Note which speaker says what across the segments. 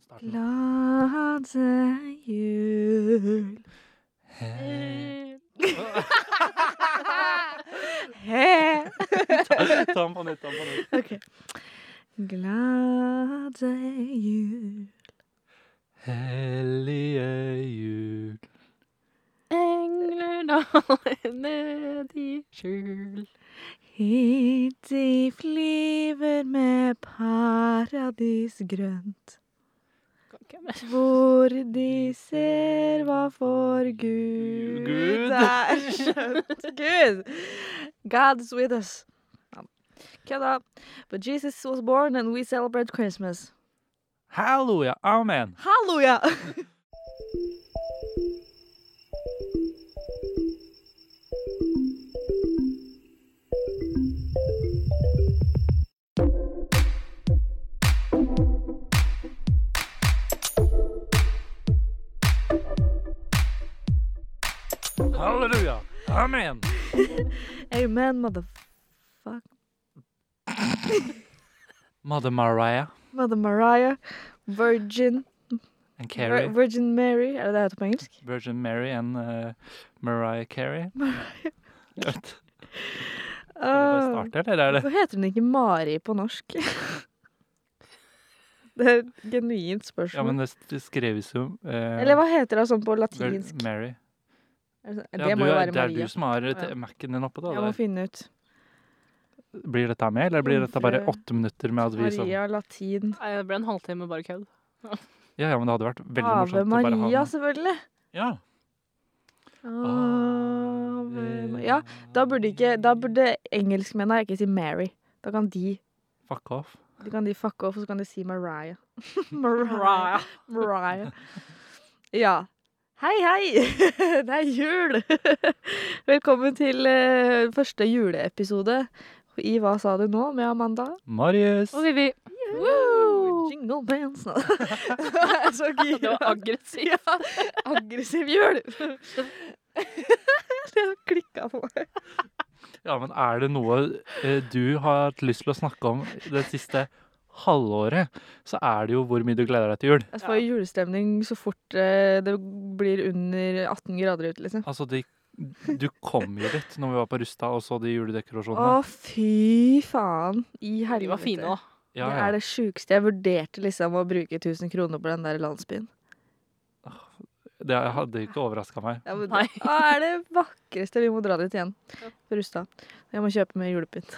Speaker 1: starten.
Speaker 2: Glade jul He.
Speaker 1: ta, ta den på nytt, ta den på nytt.
Speaker 2: Ok. Glade jul
Speaker 1: Hellige jul.
Speaker 3: Engler daler ned i skjul.
Speaker 2: Hit de flyver med paradis grønt
Speaker 3: Kan ikke jeg mer?
Speaker 2: Hvor de ser hva for Gud,
Speaker 1: Gud.
Speaker 2: er skjønt. Gud! God's with us. Ja. Kødda. But Jesus was born and we celebrate Christmas.
Speaker 1: Halleluja. Amen.
Speaker 2: Halleluja!
Speaker 1: Halleluja. Amen.
Speaker 2: Amen, motherfuck.
Speaker 1: Mother Mariah
Speaker 2: Mother Mariah. Virgin.
Speaker 1: and
Speaker 2: Vir-
Speaker 1: Carrie.
Speaker 2: Virgin Mary. Er det det heter på engelsk?
Speaker 1: Virgin Mary and eh, Mariah Carey. Jeg vet. Skal vi bare
Speaker 2: Ah,
Speaker 1: starte, eller er det
Speaker 2: Hvorfor heter hun ikke Mari på norsk? det er et genuint spørsmål.
Speaker 1: Ja, men eh, det st- det skrives jo eh,
Speaker 2: Eller hva heter det sånn på
Speaker 1: Vir-
Speaker 2: latinsk?
Speaker 1: Mary.
Speaker 2: Er det sånn-
Speaker 1: Ja,
Speaker 2: det
Speaker 1: du,
Speaker 2: må jo
Speaker 1: er-
Speaker 2: være
Speaker 1: det er
Speaker 2: Maria.
Speaker 1: du som har
Speaker 2: Ja.
Speaker 1: ja. Mac-en din oppe, da.
Speaker 2: Jeg må
Speaker 1: der.
Speaker 2: finne ut.
Speaker 1: Blir dette med, eller blir dette bare
Speaker 2: Jomfru-
Speaker 1: åtte minutter med at vi sånn
Speaker 2: Maria latin.
Speaker 3: Nei, det ble en halvtime bare kødd.
Speaker 1: Ja, ja, men det hadde vært veldig morsomt. å
Speaker 2: Ave
Speaker 1: bare ha
Speaker 2: Maria,
Speaker 1: den.
Speaker 2: selvfølgelig.
Speaker 1: Ja. Ah,
Speaker 2: Ave Maria. Ja, da burde, ikke, da burde engelskmennene ikke si Mary. Da kan de,
Speaker 1: Fuck off.
Speaker 2: de, kan de fucke off, og så kan de si Mariah. Mariah. Mariah. Ja. Hei, hei! Det er jul! Velkommen til eh, første juleepisode i Hva sa du nå? med Amanda.
Speaker 1: Marius.
Speaker 3: Og Vivi.
Speaker 2: Woo! Jingle bells. Nå. Jeg er så gira.
Speaker 3: Det var aggressivt.
Speaker 2: Ja, aggressiv jul. Det har klikka på meg.
Speaker 1: Ja, men er det noe eh, du har hatt lyst til å snakke om det siste halvåret, så er det jo hvor mye du gleder deg til jul.
Speaker 2: Jeg får julestemning så fort eh, det blir under 18 grader ute, liksom.
Speaker 1: Altså, de, du kom jo dit når vi var på Rusta og så de
Speaker 2: Å,
Speaker 1: juledekorasjonene.
Speaker 2: fy faen. I helvete.
Speaker 3: De var fine òg.
Speaker 1: Ja,
Speaker 2: Det
Speaker 1: ja.
Speaker 2: er det sjukeste. Jeg vurderte liksom å bruke 1000 kroner på den der landsbyen.
Speaker 1: Det hadde ikke overraska meg.
Speaker 2: Ja, men
Speaker 3: Nei.
Speaker 2: Det Å, er det vakreste. Vi må dra dit igjen. På Rustad. Jeg må kjøpe med julepynt.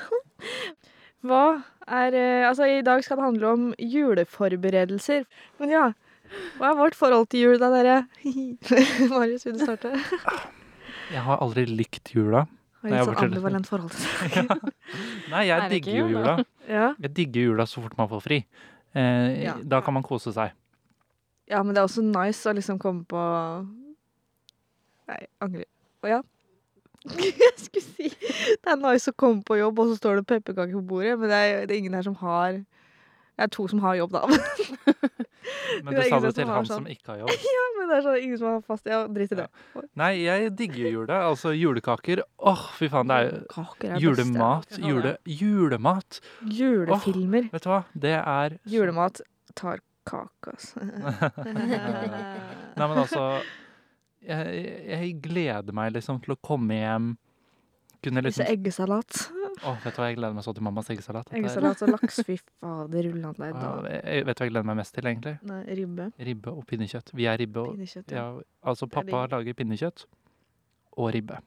Speaker 2: Hva er eh, Altså, i dag skal det handle om juleforberedelser. Men ja, hva er vårt forhold til jul, da, dere? Marius, vil du starte?
Speaker 1: Jeg har aldri likt jula.
Speaker 2: Har
Speaker 1: Nei, jeg
Speaker 2: litt sånn
Speaker 1: forteller.
Speaker 2: ambivalent forhold til det.
Speaker 1: Nei, jeg
Speaker 3: Er det ikke
Speaker 1: digger jo
Speaker 3: jul,
Speaker 1: jula.
Speaker 3: da?
Speaker 2: Ja.
Speaker 1: Jeg digger jula så fort man får fri. Eh,
Speaker 2: Ja.
Speaker 1: Da kan man kose seg.
Speaker 2: ja, men det er også nice å liksom komme på Nei, angrer. Å ja. Jeg skulle si det er nice å komme på jobb, og så står det pepperkaker på bordet, men det er, det er ingen her som har Det er to som har jobb, da.
Speaker 1: Men
Speaker 2: Det
Speaker 1: du
Speaker 2: er
Speaker 1: sa
Speaker 2: ingen
Speaker 1: det
Speaker 2: som
Speaker 1: til
Speaker 2: har
Speaker 1: han
Speaker 2: sånn.
Speaker 1: som ikke har jobb.
Speaker 2: Men det er sånn ingen som har fast Ja, drit i det.
Speaker 1: Nei, jeg digger jula. Altså julekaker. Åh, fy faen. Det er jo
Speaker 2: Kaker er
Speaker 1: Julemat.
Speaker 3: Ja, det er
Speaker 1: Jule, julemat.
Speaker 2: beste. Julefilmer.
Speaker 1: Vet du hva? Det er
Speaker 2: Julemat tar kake, altså.
Speaker 1: Nei, men altså jeg, jeg gleder meg liksom til å komme hjem Kunne
Speaker 2: Disse
Speaker 1: liksom
Speaker 2: eggesalat.
Speaker 1: Åh, vet du hva jeg gleder meg så til mammas eggesalat? Dette er-
Speaker 2: Eggesalat og laks. Fy fader, rullan deg da.
Speaker 1: Åh, jeg- jeg- Vet du hva jeg gleder meg mest til, egentlig?
Speaker 2: Nei, ribbe.
Speaker 1: Ribbe og pinnekjøtt. Vi er ribbe og
Speaker 2: Pinnekjøtt. Ja.
Speaker 1: ja, Altså,
Speaker 2: Det er
Speaker 1: pappa lager pinnekjøtt og ribbe.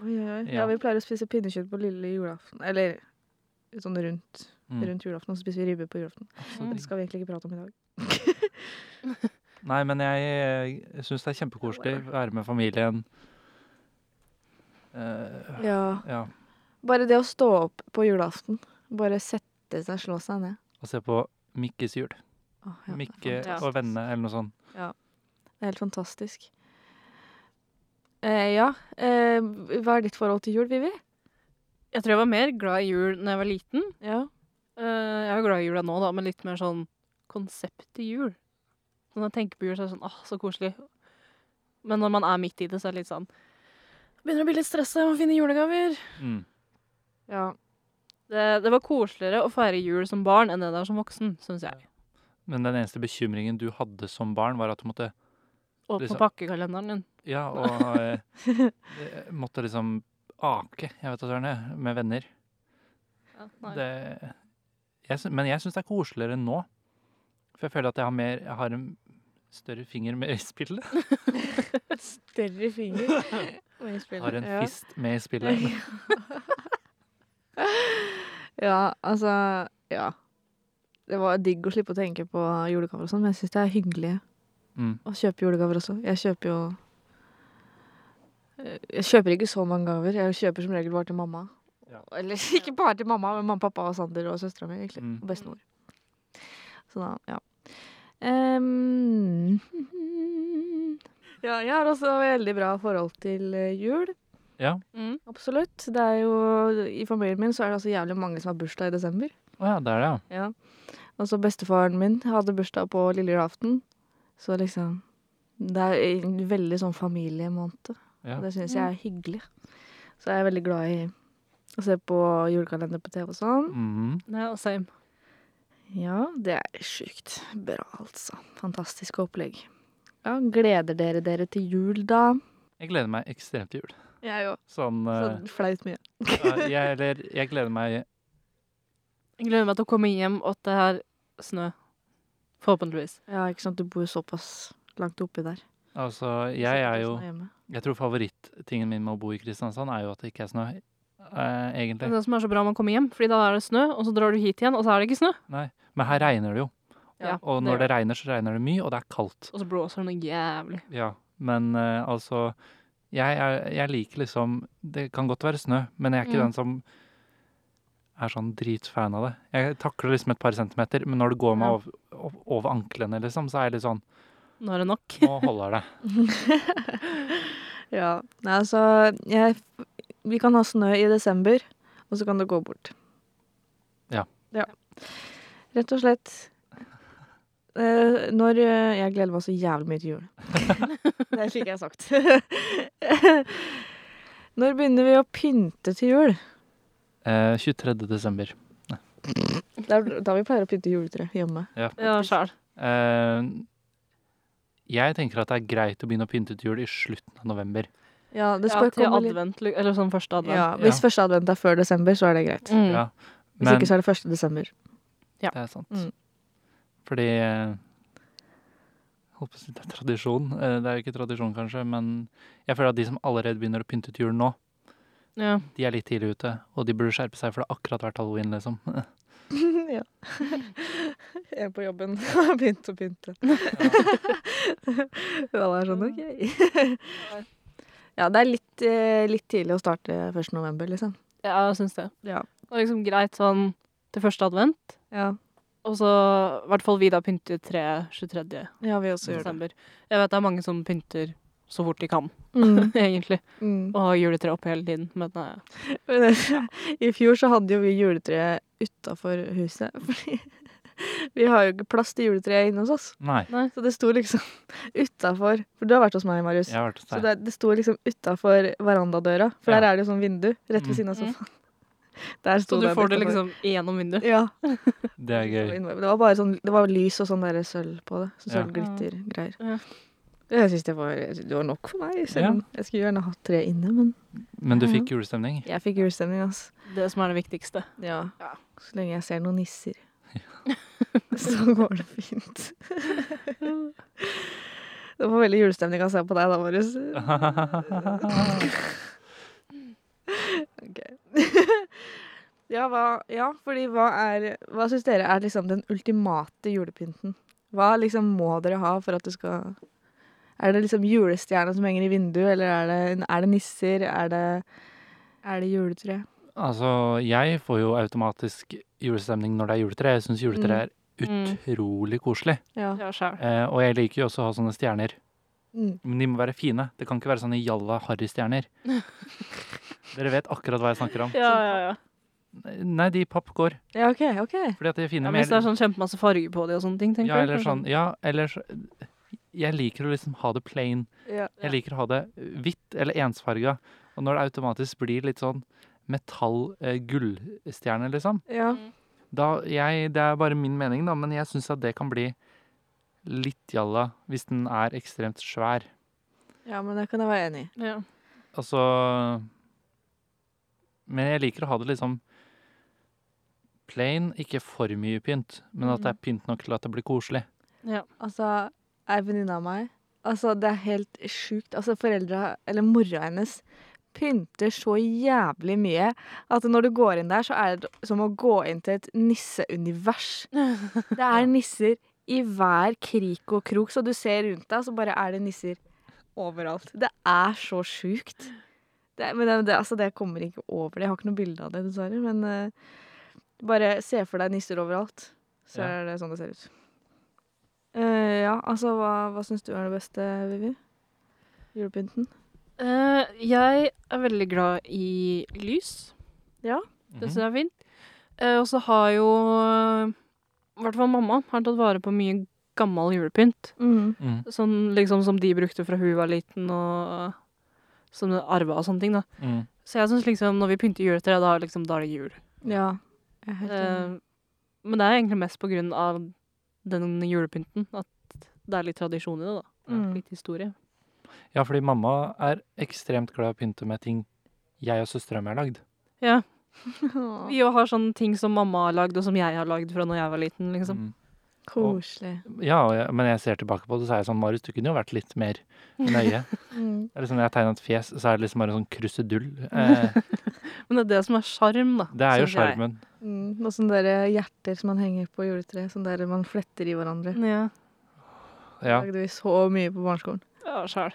Speaker 2: Oi, oi, oi.
Speaker 1: Ja.
Speaker 2: Ja, vi pleier å spise pinnekjøtt på lille julaften. Eller sånn rundt,
Speaker 1: Mm.
Speaker 2: rundt julaften, og så spiser vi ribbe på julaften.
Speaker 1: Så
Speaker 3: Mm.
Speaker 2: Det skal vi egentlig ikke prate om i dag.
Speaker 1: Nei, men jeg, jeg syns det er kjempekoselig å være med familien. Eh,
Speaker 2: Ja.
Speaker 1: ja.
Speaker 2: Bare det å stå opp på julaften. Bare sette seg, slå seg ned.
Speaker 1: Og se på Mikkes jul.
Speaker 2: Åh, ja, det er
Speaker 1: Mikke
Speaker 3: fantastisk.
Speaker 1: og vennene, eller noe sånt.
Speaker 2: Det er helt fantastisk. Eh, ja. Eh, hva er ditt forhold til jul, Vivi?
Speaker 3: Jeg tror jeg var mer glad i jul da jeg var liten.
Speaker 2: Ja.
Speaker 3: Eh, jeg er jo glad i jula nå, da, men litt mer sånn konsept i jul. Så Når jeg tenker på jul, så er det sånn åh, så koselig. Men når man er midt i det, så er det litt sånn Begynner å bli litt stressa, må finne julegaver.
Speaker 1: Mm.
Speaker 2: ja.
Speaker 3: Det, det var koseligere å feire jul som barn enn det der som voksen, syns jeg.
Speaker 1: Men den eneste bekymringen du hadde som barn, var at du måtte
Speaker 3: Og på
Speaker 1: Liksom.
Speaker 3: pakkekalenderen din.
Speaker 1: Ja, og eh, eh, måtte liksom ake, jeg vet da søren, jeg, med venner.
Speaker 3: Ja, nei.
Speaker 1: Det, jeg, sy- men jeg syns det er koseligere nå. For jeg føler at jeg har, mer, jeg har en større finger med i spillet.
Speaker 2: Større finger. Med i spillet.
Speaker 1: Har en
Speaker 2: Ja.
Speaker 1: fist med i spillet.
Speaker 2: Ja, altså Ja. Det var digg å slippe å tenke på julegaver og sånn, men jeg syns det er hyggelig
Speaker 1: Mm.
Speaker 2: å kjøpe julegaver også. Jeg kjøper jo Eh, Jeg kjøper ikke så mange gaver. Jeg kjøper som regel bare til mamma.
Speaker 1: Ja.
Speaker 2: Eller ikke bare til mamma, men mamma, pappa og Sander og søstera mi, egentlig.
Speaker 1: Mm.
Speaker 2: Og bestemor. Så da, ja. Em, ja, jeg har også veldig bra forhold til eh, jul.
Speaker 3: Mm.
Speaker 2: Absolutt. Det er jo, I familien min så er det altså jævlig mange som har bursdag i desember.
Speaker 1: Å ja, det er det, ja.
Speaker 2: Ja. Altså bestefaren min hadde bursdag på lille julaften. Så liksom Det er en veldig sånn familiemåned.
Speaker 1: Ja.
Speaker 2: og Det syns jeg er hyggelig. Så jeg er veldig glad i å se på julekalender på TV og sånn.
Speaker 1: Mhm.
Speaker 3: Nei, og same.
Speaker 2: Ja, det er sjukt bra, altså. Fantastisk opplegg. Ja, Gleder dere dere til jul, da?
Speaker 1: Jeg gleder meg ekstremt til jul.
Speaker 2: Jeg òg.
Speaker 1: Sånn eh,
Speaker 2: Så flaut mye.
Speaker 1: ja, jeg, eller, jeg gleder meg
Speaker 3: Jeg gleder meg til å komme hjem og at det er snø. Forhåpentligvis.
Speaker 2: Ja, ikke sant. Du bor såpass langt oppi der.
Speaker 1: Altså, jeg er jo
Speaker 2: hjemme.
Speaker 1: Jeg tror favorittingen min med å bo i Kristiansand er jo at det ikke er snø, eh,
Speaker 3: Det
Speaker 1: egentlig.
Speaker 3: er det som er så bra med å komme hjem, Fordi da er det snø, og så drar du hit igjen, og så er det ikke snø.
Speaker 1: Men her regner det jo.
Speaker 3: Ja,
Speaker 1: Og når det regner, så regner det mye, og det er kaldt.
Speaker 3: Og så blåser det noe jævlig.
Speaker 1: Ja, men eh, altså jeg, er, jeg liker liksom Det kan godt være snø, men jeg er ikke
Speaker 3: Mm.
Speaker 1: den som er sånn dritfan av det. Jeg takler liksom et par centimeter, men når det går meg
Speaker 3: Ja.
Speaker 1: over, ov- over anklene, liksom, så er jeg litt sånn
Speaker 3: Nå er det nok.
Speaker 1: Nå holder det.
Speaker 2: Ja, nei, altså jeg, Vi kan ha snø i desember, og så kan det gå bort.
Speaker 1: Ja.
Speaker 2: ja. Rett og slett. Eh, når eh, Jeg gleder meg så jævlig mye til jul. det fikk jeg sagt. når begynner vi å pynte til jul?
Speaker 1: Eh, 23. desember.
Speaker 2: Det er da vi pleier å pynte juletre hjemme.
Speaker 3: Ja, sjæl.
Speaker 1: Eh, jeg tenker at det er greit å begynne å pynte til jul i slutten av november.
Speaker 2: Ja, det
Speaker 3: Ja,
Speaker 2: skal
Speaker 3: til
Speaker 2: komme litt-
Speaker 3: advent, li- eller sånn første advent.
Speaker 2: Ja, hvis
Speaker 1: Ja.
Speaker 2: første advent er før desember, så er det greit.
Speaker 3: Mm.
Speaker 1: Ja,
Speaker 2: Hvis
Speaker 1: Men
Speaker 2: ikke, så er det første desember.
Speaker 1: det er sant.
Speaker 2: Mm.
Speaker 1: Fordi eh, holdt på å si det er tradisjon. Eh, Det er jo ikke tradisjon, kanskje, men jeg føler at de som allerede begynner å pynte til jul nå,
Speaker 3: Ja.
Speaker 1: de er litt tidlig ute, og de burde skjerpe seg, for det har akkurat vært halloween, liksom.
Speaker 2: ja. En på jobben har begynt å pynte. Alle er sånn OK. ja, det er litt, eh, litt tidlig å starte 1. november, liksom.
Speaker 3: ja, jeg syns det.
Speaker 2: Ja.
Speaker 3: Det er liksom greit sånn til første advent,
Speaker 2: Ja,
Speaker 3: og så i hvert fall vi da pynter 3. 23.
Speaker 2: ja vi også gjør det.
Speaker 3: desember. Jeg vet det er mange som pynter så fort de kan,
Speaker 2: Mm,
Speaker 3: egentlig,
Speaker 2: mm.
Speaker 3: og har juletre oppe hele tiden. Men eh, nei.
Speaker 2: Men det- Mm. I fjor så hadde jo vi juletre utafor huset, fordi vi har jo ikke plass til juletre inne hos oss.
Speaker 1: Nei,
Speaker 2: Så det sto liksom utafor. For du har vært hos meg, Marius.
Speaker 1: jeg har vært hos
Speaker 2: Så
Speaker 1: deg.
Speaker 2: det, det sto liksom utafor verandadøra, for
Speaker 1: Ja.
Speaker 2: der er det jo sånn vindu rett
Speaker 1: Mm.
Speaker 2: ved siden av
Speaker 3: Mm.
Speaker 2: sofaen. Der sto
Speaker 3: Så du
Speaker 2: den
Speaker 3: får det
Speaker 2: utenfor.
Speaker 3: liksom gjennom vinduet.
Speaker 2: Ja.
Speaker 1: Det er gøy.
Speaker 2: Det var bare sånn, det var lys og sånn der sølv på det. Så
Speaker 1: Ja.
Speaker 2: Sølvglitter-greier.
Speaker 3: Ja.
Speaker 2: Jeg syns det, var- det var nok for meg, selv om jeg skulle gjerne hatt tre inne, men
Speaker 1: Men du
Speaker 2: Mhm.
Speaker 1: fikk julestemning?
Speaker 2: jeg fikk julestemning, altså.
Speaker 3: Det som er det viktigste.
Speaker 2: Ja.
Speaker 3: Ja.
Speaker 2: Så lenge jeg ser noen nisser. så går det fint. det var veldig julestemning å se på deg da, Marius. ja, hva, ja, fordi hva er Hva syns dere er liksom den ultimate julepynten? Hva liksom må dere ha for at det skal Er det liksom julestjerna som henger i vinduet, eller er det, er det nisser? Er det, er det juletre?
Speaker 1: Altså, jeg får jo automatisk julestemning når det er juletre. Jeg syns juletre er
Speaker 3: Mm.
Speaker 1: utrolig koselig.
Speaker 2: Ja.
Speaker 3: Ja, sjæl.
Speaker 1: Eh, og jeg liker jo også å ha sånne stjerner.
Speaker 2: Mm.
Speaker 1: Men de må være fine. Det kan ikke være sånne jalla harry-stjerner. Dere vet akkurat hva jeg snakker om.
Speaker 3: Ja, ja, ja.
Speaker 1: Nei, de i papp går.
Speaker 2: ja, OK. ok.
Speaker 1: Fordi at de er fine.
Speaker 3: Ja,
Speaker 1: men
Speaker 3: hvis det
Speaker 1: jeg-
Speaker 3: er sånn kjempemasse farge på de og sånne ting, tenker
Speaker 1: ja,
Speaker 3: jeg,
Speaker 1: eller
Speaker 3: kanskje.
Speaker 1: sånn, ja, eller så- Jeg liker å liksom ha det plain.
Speaker 2: Ja.
Speaker 1: Jeg liker å ha det hvitt eller ensfarga. Og når det automatisk blir litt sånn metall-gullstjerne, liksom
Speaker 2: ja.
Speaker 1: da jeg, Det er bare min mening, da, men jeg syns at det kan bli litt jalla hvis den er ekstremt svær.
Speaker 2: Ja, men det kan jeg være enig i.
Speaker 3: Ja.
Speaker 1: Altså Men jeg liker å ha det liksom plain, ikke for mye pynt, men at det
Speaker 3: Mm.
Speaker 1: er pynt nok til at det blir koselig.
Speaker 2: Altså, ei venninne av meg Altså, det er helt sjukt. Altså, foreldra, eller mora hennes, pynter så jævlig mye at når du går inn der, så er det som å gå inn til et nisseunivers. Det er nisser i hver krik og krok, så du ser rundt deg, og så bare er det nisser overalt. Det er så sjukt. Det, men det, det, altså, det kommer ikke over det. Jeg har ikke noe bilde av det, dessverre. Men eh, bare se for deg nisser overalt, så
Speaker 1: Ja.
Speaker 2: er det sånn det ser ut. Eh, ja, altså, hva, hva syns du er det beste, Vivi? Julepynten?
Speaker 3: Eh, jeg er veldig glad i lys.
Speaker 2: Ja.
Speaker 1: Mhm.
Speaker 3: Det syns jeg er fint. Eh, og så har jo I hvert fall mamma har tatt vare på mye gammel julepynt.
Speaker 2: Mm.
Speaker 1: Mhm.
Speaker 3: Sånn liksom som de brukte fra hun var liten, og som de arva og sånne ting. da.
Speaker 1: Mhm.
Speaker 3: Så jeg syns liksom når vi pynter juletre, da, liksom, da er det jul.
Speaker 2: Ja. Jeg er helt enig.
Speaker 3: Eh, men det er egentlig mest på grunn av den julepynten. At det er litt tradisjon i det, da.
Speaker 2: Mm.
Speaker 3: Litt historie.
Speaker 1: Ja, fordi mamma er ekstremt glad i å pynte med ting jeg og søstera mi har lagd.
Speaker 3: Ja.
Speaker 2: Åh,
Speaker 3: Vi jo har sånne ting som mamma har lagd, og som jeg har lagd fra når jeg var liten. liksom.
Speaker 1: Mhm.
Speaker 2: Koselig.
Speaker 1: Ja, og jeg, men jeg ser tilbake på det, så er jeg sånn Marius, du kunne jo vært litt mer nøye.
Speaker 2: Mm.
Speaker 1: Det er liksom, når jeg tegner et fjes, så er det liksom bare en sånn krusedull. Eh,
Speaker 3: Men det er det som er sjarm, da.
Speaker 1: det er jo
Speaker 3: synes jeg.
Speaker 1: sjarmen.
Speaker 2: Mm, noen sånne der hjerter som man henger på juletreet. Sånne der man fletter i hverandre.
Speaker 3: Ja.
Speaker 2: Det
Speaker 1: Ja.
Speaker 2: lagde vi så mye på barneskolen.
Speaker 3: ja sjæl.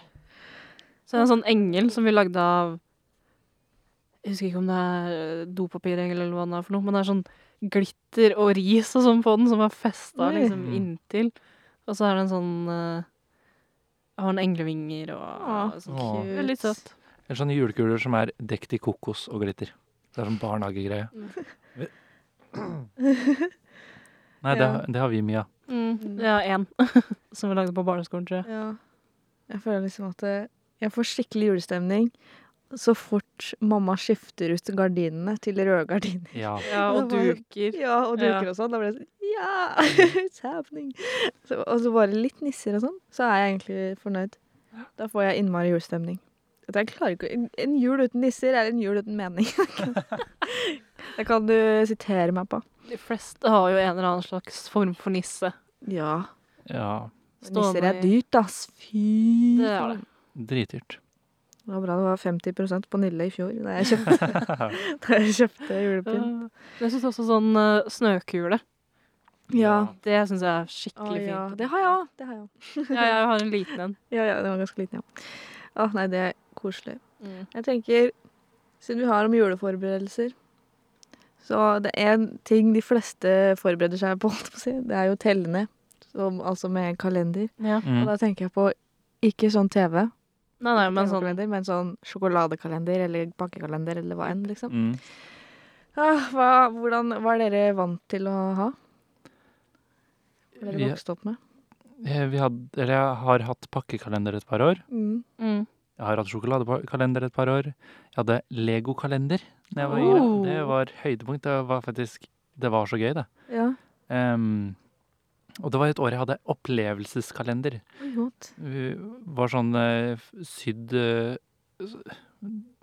Speaker 3: Så det er en sånn engel som vi lagde av Jeg husker ikke om det er eh, dopapirengel eller hva det er for noe, men det er sånn glitter og ris og sånn på den, som er festa
Speaker 2: Oi.
Speaker 3: liksom
Speaker 1: Mm.
Speaker 3: inntil. Og så er det en sånn eh, Har en englevinger og,
Speaker 2: Å,
Speaker 3: og sånn.
Speaker 1: Åh.
Speaker 3: Det er litt søtt.
Speaker 1: Eller sånne sånn julekuler som er dekt i kokos og glitter. Det er sånn barnehagegreie. Nei, det,
Speaker 2: Ja.
Speaker 1: det har vi mye av.
Speaker 3: Mm. Ja, én som vi lagde på barneskolen, tror jeg.
Speaker 2: Ja. Jeg føler liksom at eh, jeg får skikkelig julestemning så fort mamma skifter ut gardinene til røde gardiner.
Speaker 1: Ja.
Speaker 3: Ja,
Speaker 2: og
Speaker 3: og duker.
Speaker 2: Ja, og duker
Speaker 3: Ja. Mm.
Speaker 2: og sånn. Da blir jeg sånn Ja! It's happening! Så, og så bare litt nisser og sånn, så er jeg egentlig fornøyd. Da får jeg innmari julestemning. At Jeg klarer ikke en- En jul uten nisser er en jul uten mening. det kan du sitere meg på.
Speaker 3: De fleste har jo en eller annen slags form for nisse.
Speaker 2: Ja.
Speaker 1: ja.
Speaker 2: Nisser
Speaker 3: Stående
Speaker 2: er
Speaker 3: i-
Speaker 2: dyrt, ass. Fy
Speaker 3: Det er det.
Speaker 1: Dritdyrt.
Speaker 2: Det var bra det var 50 på Nille i fjor da jeg kjøpte, da jeg kjøpte julepynt.
Speaker 3: Ja. Jeg syns også sånn eh, snøkule.
Speaker 2: Ja.
Speaker 3: Det syns jeg er
Speaker 2: Å,
Speaker 3: skikkelig
Speaker 2: ja.
Speaker 3: fint.
Speaker 2: Det har jeg òg. Det har jeg òg.
Speaker 3: Ja, jeg har en liten en.
Speaker 2: Ja, ja, den var ganske liten, ja. Å, nei, det er koselig. Jeg tenker, siden vi har om juleforberedelser Så det er en ting de fleste forbereder seg på, holdt jeg på å si. Det er jo telle ned. Som, altså med en kalender.
Speaker 3: Ja.
Speaker 2: Og
Speaker 1: Mm.
Speaker 2: da tenker jeg på ikke sånn TV,
Speaker 3: Nei, nei, men sånn
Speaker 2: TV-kalender, men sånn sjokoladekalender eller pakkekalender eller hva enn, liksom.
Speaker 1: Mm.
Speaker 2: Ah, hva, hvordan, hva er dere vant til å ha? Hva
Speaker 1: Vi-
Speaker 2: er dere vokst opp med?
Speaker 1: Eh, Vi hadde, eller jeg har hatt pakkekalender et par år.
Speaker 2: Mm.
Speaker 3: mm.
Speaker 1: Jeg har hatt sjokoladekalender et par år. Jeg hadde legokalender da jeg var
Speaker 3: Oh.
Speaker 1: yngre. Det var høydepunkt. Det var faktisk Det var så gøy, det.
Speaker 2: Ja.
Speaker 1: Em, og det var et år jeg hadde opplevelseskalender.
Speaker 2: Oi, hot.
Speaker 1: Vi var sånn eh, f- sydd eh, s-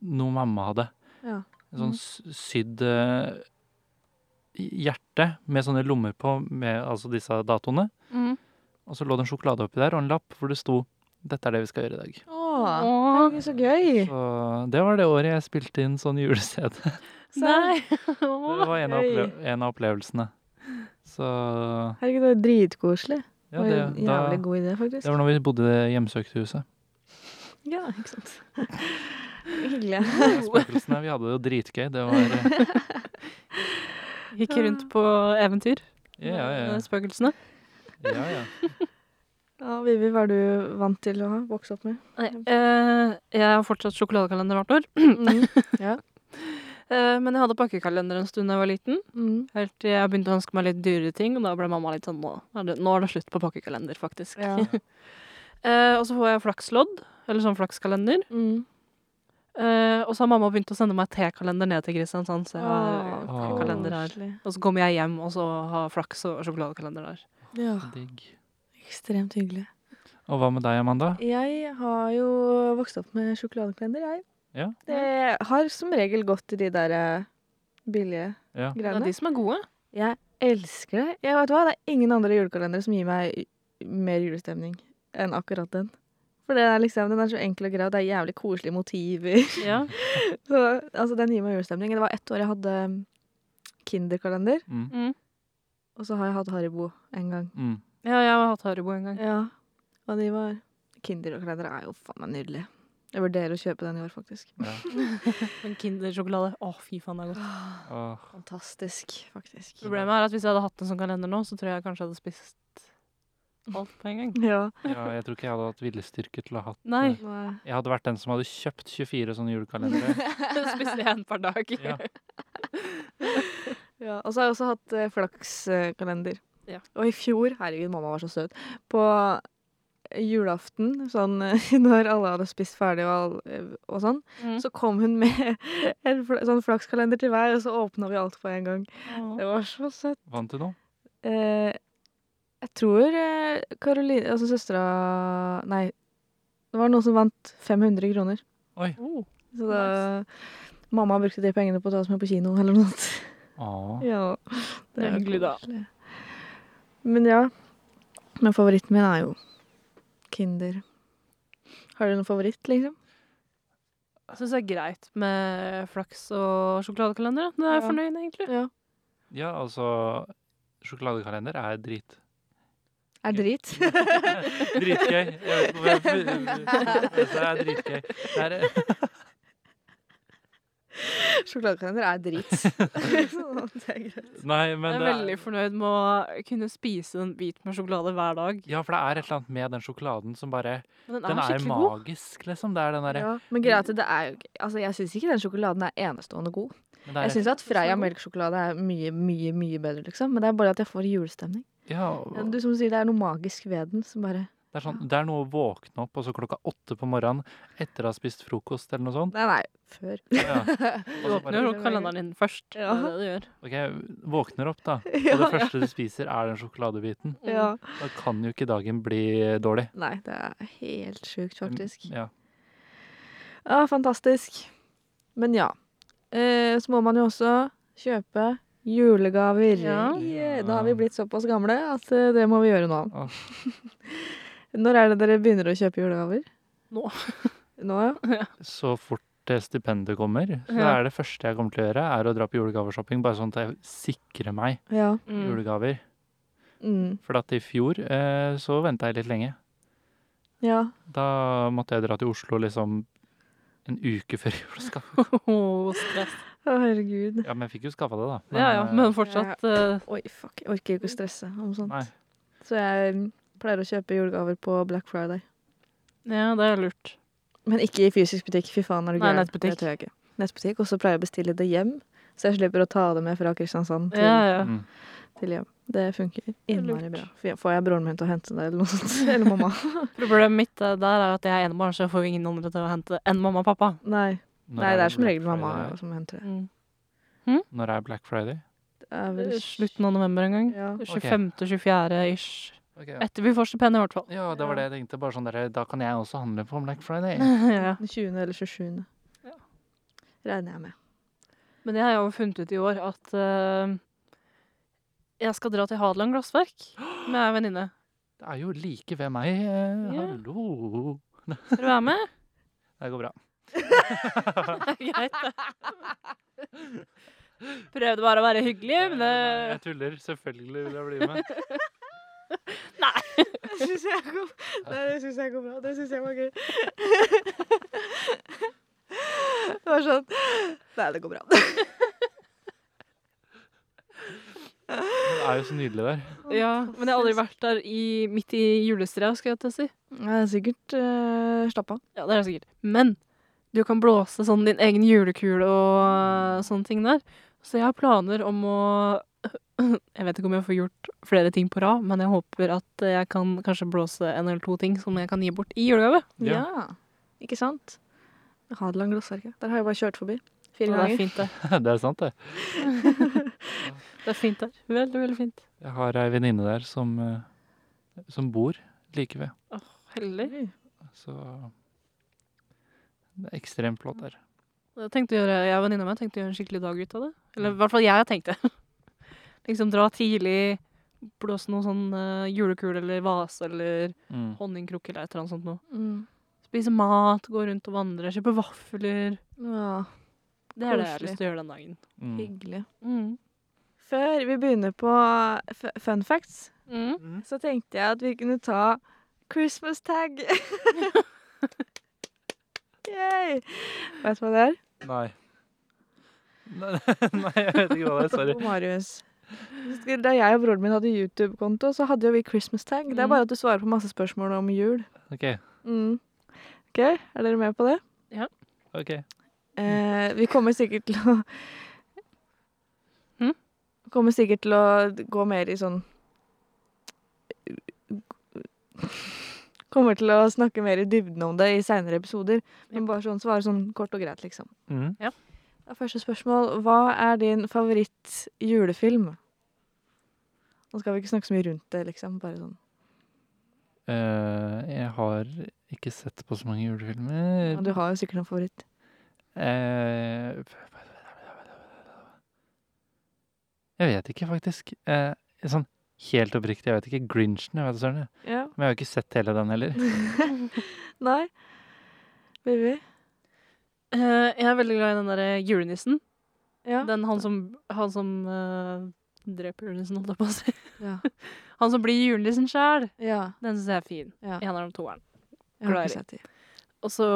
Speaker 1: Noe mamma hadde.
Speaker 2: Ja. Mm.
Speaker 1: En sånn s- sydd eh, hjerte med sånne lommer på med altså disse datoene.
Speaker 3: Mm.
Speaker 1: Og så lå det en sjokolade oppi der og en lapp hvor det sto 'Dette er det vi skal gjøre i dag'.
Speaker 2: Åh,
Speaker 3: Åh,
Speaker 2: herregud, så gøy!
Speaker 1: Så det var det året jeg spilte inn sånn julescene.
Speaker 3: nei!
Speaker 1: Det var en av,
Speaker 2: Oi.
Speaker 1: opple en av opplevelsene. Så
Speaker 2: Herregud, det var dritkoselig. Det
Speaker 1: ja,
Speaker 2: var
Speaker 1: det,
Speaker 2: en
Speaker 1: da,
Speaker 2: jævlig god idé, faktisk.
Speaker 1: det var når vi bodde i hjemsøkthuset.
Speaker 2: Ja, ikke sant. Hyggelig.
Speaker 1: Spøkelsene, vi hadde det jo dritgøy. Det var eh,
Speaker 3: Gikk rundt på eventyr
Speaker 1: Ja, ja, ja.
Speaker 3: med spøkelsene.
Speaker 1: ja, ja.
Speaker 2: Ja, Vivi, hva er du vant til å ha vokst opp med?
Speaker 3: Nei, eh, jeg har fortsatt sjokoladekalender hvert år.
Speaker 2: Mm. Ja.
Speaker 3: Eh, men jeg hadde pakkekalender en stund da jeg var liten.
Speaker 2: Mm.
Speaker 3: Helt til jeg begynte å ønske meg litt dyrere ting, og da ble mamma litt sånn Nå er det, nå er det slutt på pakkekalender, faktisk.
Speaker 2: ja.
Speaker 3: Eh, og så får jeg flakslodd, eller sånn flakskalender.
Speaker 2: Mm.
Speaker 3: Eh, og så har mamma begynt å sende meg tekalender ned til Kristiansand. Så jeg har
Speaker 1: Åh.
Speaker 3: tekalender her.
Speaker 2: Ah, koselig.
Speaker 3: Og så kommer jeg hjem og så har flaks og sjokoladekalender der.
Speaker 2: Ja,
Speaker 1: Digg.
Speaker 2: ikke Ekstremt hyggelig.
Speaker 1: Og hva med deg, Amanda?
Speaker 2: Jeg har jo vokst opp med sjokoladekalender, jeg.
Speaker 1: Ja.
Speaker 2: Det har som regel gått til de der eh, billige
Speaker 1: Ja.
Speaker 3: Det er
Speaker 2: greiene.
Speaker 3: de som er gode.
Speaker 2: Jeg elsker det. Jeg vet hva, Det er ingen andre julekalendere som gir meg y- mer julestemning enn akkurat den. For det er liksom, Den er så enkel og grei, og det er jævlig koselige motiver.
Speaker 3: Ja.
Speaker 2: Så, altså, Den gir meg julestemning. Det var ett år jeg hadde um, Kinderkalender,
Speaker 1: Mm.
Speaker 3: Mm.
Speaker 2: og så har jeg hatt Haribo en gang.
Speaker 1: Mm.
Speaker 3: ja, jeg har hatt Haribo en gang.
Speaker 2: Ja, Og de var Kinderkalender er jo faen meg nydelig. Jeg vurderer å kjøpe den i år, faktisk.
Speaker 3: Men Kindersjokolade, å fy faen, det er godt.
Speaker 1: Åh.
Speaker 2: Fantastisk, faktisk.
Speaker 3: Problemet er at hvis jeg hadde hatt en sånn kalender nå, så tror jeg kanskje jeg hadde spist alt på en gang.
Speaker 2: Ja.
Speaker 1: ja, jeg tror ikke jeg hadde hatt viljestyrke til å ha hatt
Speaker 3: Nei.
Speaker 1: eh, Jeg hadde vært den som hadde kjøpt 24 sånne julekalendere.
Speaker 3: Spiste én per dag.
Speaker 1: Ja.
Speaker 2: Ja, og så har jeg også hatt eh, flakskalender.
Speaker 3: Ja.
Speaker 2: Og i fjor, herregud, mamma var så søt, på julaften, sånn eh, når alle hadde spist ferdig og, all- og sånn,
Speaker 3: Mm.
Speaker 2: så kom hun med en fl sånn flakskalender til hver, og så åpna vi alt på en gang.
Speaker 3: Åh.
Speaker 2: Det var så søtt.
Speaker 1: Vant du noe?
Speaker 2: Eh, jeg tror eh, Karoline, altså søstera Nei, det var noen som vant 500 kroner.
Speaker 1: Oi.
Speaker 3: Oh.
Speaker 2: Så da Mamma brukte de pengene på å ta oss med på kino eller noe sånt.
Speaker 1: Åh.
Speaker 2: Ja,
Speaker 3: Det er hyggelig, da.
Speaker 2: koselig. Men ja, men favoritten min er jo Kinder. Har du noen favoritt, liksom?
Speaker 3: Jeg syns det er greit med flaks og sjokoladekalender. Nå er jeg
Speaker 2: Ja.
Speaker 3: fornøyd, egentlig.
Speaker 2: Ja.
Speaker 1: Ja, altså Sjokoladekalender er drit.
Speaker 2: Er drit?
Speaker 1: Dritgøy. Jeg vet ikke hvorfor jeg- Det er dritgøy. Det er,
Speaker 2: Sjokoladekalender er drit. Sånn, det er greit.
Speaker 1: nei, men
Speaker 3: Jeg er
Speaker 1: det
Speaker 3: veldig fornøyd med å kunne spise en bit med sjokolade hver dag.
Speaker 1: Ja, for det er et eller annet med den sjokoladen som bare
Speaker 3: Men den er,
Speaker 1: Den er
Speaker 3: skikkelig god.
Speaker 1: magisk, liksom. Det er den derre
Speaker 2: Ja, men greia er at det er jo ikke- Altså, jeg syns ikke den sjokoladen er enestående god.
Speaker 1: men det er-
Speaker 2: Jeg syns at Freia
Speaker 3: god.
Speaker 2: melkesjokolade er mye, mye, mye bedre, liksom. Men det er bare at jeg får julestemning.
Speaker 1: Ja,
Speaker 2: Men Du som sier det er noe magisk ved den som bare
Speaker 1: det er sånn Det er noe å våkne opp, og så klokka åtte på morgenen etter å ha spist frokost eller noe sånt.
Speaker 2: Nei, nei, før.
Speaker 1: Ja. og
Speaker 3: Du
Speaker 1: så
Speaker 3: åpner
Speaker 1: bare,
Speaker 3: jo kalenderen din først. Det
Speaker 2: Ja.
Speaker 3: er det du gjør.
Speaker 1: OK, våkner opp, da. Og
Speaker 2: Ja,
Speaker 1: det første du spiser, er den sjokoladebiten.
Speaker 2: ja.
Speaker 1: Da kan jo ikke dagen bli dårlig.
Speaker 2: Nei, det er helt sjukt, faktisk.
Speaker 1: Ja.
Speaker 2: Ja, fantastisk. Men ja. Eh, så må man jo også kjøpe julegaver.
Speaker 3: Ja.
Speaker 2: Yeah, Da har vi blitt såpass gamle at eh, det må vi gjøre nå.
Speaker 1: Åh.
Speaker 2: Når er det dere begynner å kjøpe julegaver?
Speaker 3: Nå.
Speaker 2: Nå, ja.
Speaker 1: så fort eh, stipendet kommer, så
Speaker 3: Ja.
Speaker 1: er det første jeg kommer til å gjøre, er å dra på julegaveshopping, bare sånn at jeg sikrer meg
Speaker 2: ja.
Speaker 3: Mm.
Speaker 1: julegaver.
Speaker 2: Mm.
Speaker 1: For at i fjor eh, så venta jeg litt lenge.
Speaker 2: ja.
Speaker 1: Da måtte jeg dra til Oslo liksom en uke før jul. og skaffe-
Speaker 3: Åh, stress.
Speaker 2: Å, herregud.
Speaker 1: Ja, men jeg fikk jo skaffa det, da.
Speaker 3: Ja ja,
Speaker 1: eh,
Speaker 3: men fortsatt eh,
Speaker 2: Oi, fuck. Jeg orker ikke å stresse om sånt.
Speaker 1: Nei.
Speaker 2: Så jeg mm, pleier å kjøpe julegaver på Black Friday.
Speaker 3: Ja, det er lurt.
Speaker 2: Men ikke i fysisk butikk. Fy faen, er du
Speaker 3: Nei,
Speaker 2: gæren.
Speaker 3: nettbutikk.
Speaker 2: Det tør jeg ikke. Nettbutikk. Og så pleier jeg å bestille det hjem, så jeg slipper å ta det med fra Kristiansand til
Speaker 3: Ja, ja.
Speaker 1: Mm.
Speaker 2: til hjem. Det funker
Speaker 3: er
Speaker 2: innmari
Speaker 3: lurt.
Speaker 2: bra. F- Får jeg broren min til å hente det, eller noe sånt? Eller mamma?
Speaker 3: Problemet mitt eh, der er at jeg er enebarn, så jeg får jo ingen andre til å hente enn mamma og pappa.
Speaker 2: Nei,
Speaker 1: Når
Speaker 2: Nei det er som
Speaker 1: Black
Speaker 2: regel mamma
Speaker 1: Friday?
Speaker 2: som henter det.
Speaker 3: Mm.
Speaker 1: Når er Black Friday?
Speaker 2: det er vel...
Speaker 3: Slutten av november en gang.
Speaker 2: Ja.
Speaker 3: 25.-24. ish.
Speaker 1: ja.
Speaker 3: Etter vi får stipendet, i hvert fall.
Speaker 1: ja, det var det jeg tenkte. Bare sånn der, Da kan jeg også handle på Black Friday.
Speaker 3: ja.
Speaker 2: Den 20. eller 27.
Speaker 3: Ja.
Speaker 2: Regner jeg med.
Speaker 3: Men jeg har jo funnet ut i år at eh, jeg skal dra til Hadeland glassverk med ei venninne.
Speaker 1: Det er jo like ved meg. eh,
Speaker 3: Ja.
Speaker 1: Hallo.
Speaker 3: Skal du være med?
Speaker 1: Det går bra.
Speaker 3: Greit, det. Prøvde bare å være hyggelig, men eh, det
Speaker 1: Nei, Jeg tuller. Selvfølgelig vil jeg bli med.
Speaker 2: Det syns jeg, går bra. Det syns jeg var gøy. Det var sånn Nei, det går bra.
Speaker 1: Det er jo så nydelig der.
Speaker 3: Ja, men jeg har aldri vært der i, midt i julestria, skal jeg til å si.
Speaker 2: Jeg er sikkert uh, slappa.
Speaker 3: Ja, det er det sikkert. Men du kan blåse sånn din egen julekule og øh, sånne ting der. Så jeg har planer om å Jeg vet ikke om jeg får gjort flere ting på rad, men jeg håper at øh, jeg kan kanskje blåse en eller to ting som jeg kan gi bort i julegave.
Speaker 1: Ja.
Speaker 2: Ikke sant? Hadeland glassverket. Der har jeg bare kjørt forbi.
Speaker 3: Og
Speaker 2: Fire
Speaker 3: det er
Speaker 2: ganger.
Speaker 3: fint, det.
Speaker 1: Det er sant, det.
Speaker 3: Det er fint der. Veldig, veldig fint.
Speaker 1: Jeg har ei venninne der som eh, som bor like ved.
Speaker 3: Heller.
Speaker 2: Oi.
Speaker 1: Så det er ekstremt flott der.
Speaker 3: Jeg, tenkte å gjøre, jeg og venninna mi tenkte å gjøre en skikkelig dag ut av det. Eller i hvert fall jeg tenkte. liksom dra tidlig, blåse noen sånn eh, julekule eller vase eller
Speaker 1: Mm.
Speaker 3: honningkrukke eller et eller annet sånt noe.
Speaker 2: Mm.
Speaker 3: Spise mat, gå rundt og vandre, kjøpe vafler.
Speaker 2: Ja,
Speaker 3: Det er det jeg har
Speaker 2: Koselig.
Speaker 3: lyst til å gjøre den dagen.
Speaker 1: Mm.
Speaker 2: hyggelig.
Speaker 3: Mm.
Speaker 2: Før vi begynner på f fun facts,
Speaker 3: Mm.
Speaker 2: så tenkte jeg at vi kunne ta Christmas tag. Yay! Vet du hva det er?
Speaker 1: Nei. Nei, nei, jeg vet ikke hva det er. Sorry.
Speaker 2: Og Marius. Da jeg og broren min hadde YouTube-konto, så hadde jo vi Christmas tag.
Speaker 3: Mm.
Speaker 2: Det er bare at du svarer på masse spørsmål om jul.
Speaker 1: OK.
Speaker 2: Mm. Ok, Er dere med på det?
Speaker 1: ok.
Speaker 2: Eh, vi kommer sikkert til å
Speaker 3: Mm?
Speaker 2: Kommer sikkert til å gå mer i sånn Kommer til å snakke mer i dybden om det i seinere episoder. Men bare sånn svare sånn kort og greit, liksom.
Speaker 1: Mm.
Speaker 2: Da, første spørsmål. Hva er din favoritt-julefilm? Nå skal vi ikke snakke så mye rundt det, liksom. Bare sånn.
Speaker 1: Eh, jeg har ikke sett på så mange julefilmer.
Speaker 2: Men du har jo sikkert en favoritt.
Speaker 1: Eh, Jeg vet ikke, faktisk. Eh, sånn helt oppriktig, jeg vet ikke. Grinchen, jeg vet søren. jeg.
Speaker 2: Ja.
Speaker 1: Men jeg har jo ikke sett hele den heller.
Speaker 2: Nei? Vivi?
Speaker 3: Eh, jeg er veldig glad i den derre julenissen.
Speaker 2: Ja.
Speaker 3: Den han som, han som eh, dreper julenissen, holdt jeg på å si.
Speaker 2: ja.
Speaker 3: Han som blir julenissen sjæl.
Speaker 2: Ja.
Speaker 3: Den syns jeg er fin.
Speaker 2: Ja.
Speaker 3: En av de toeren.
Speaker 2: Jeg har
Speaker 3: Glad i.
Speaker 2: ikke sett de.
Speaker 3: Og så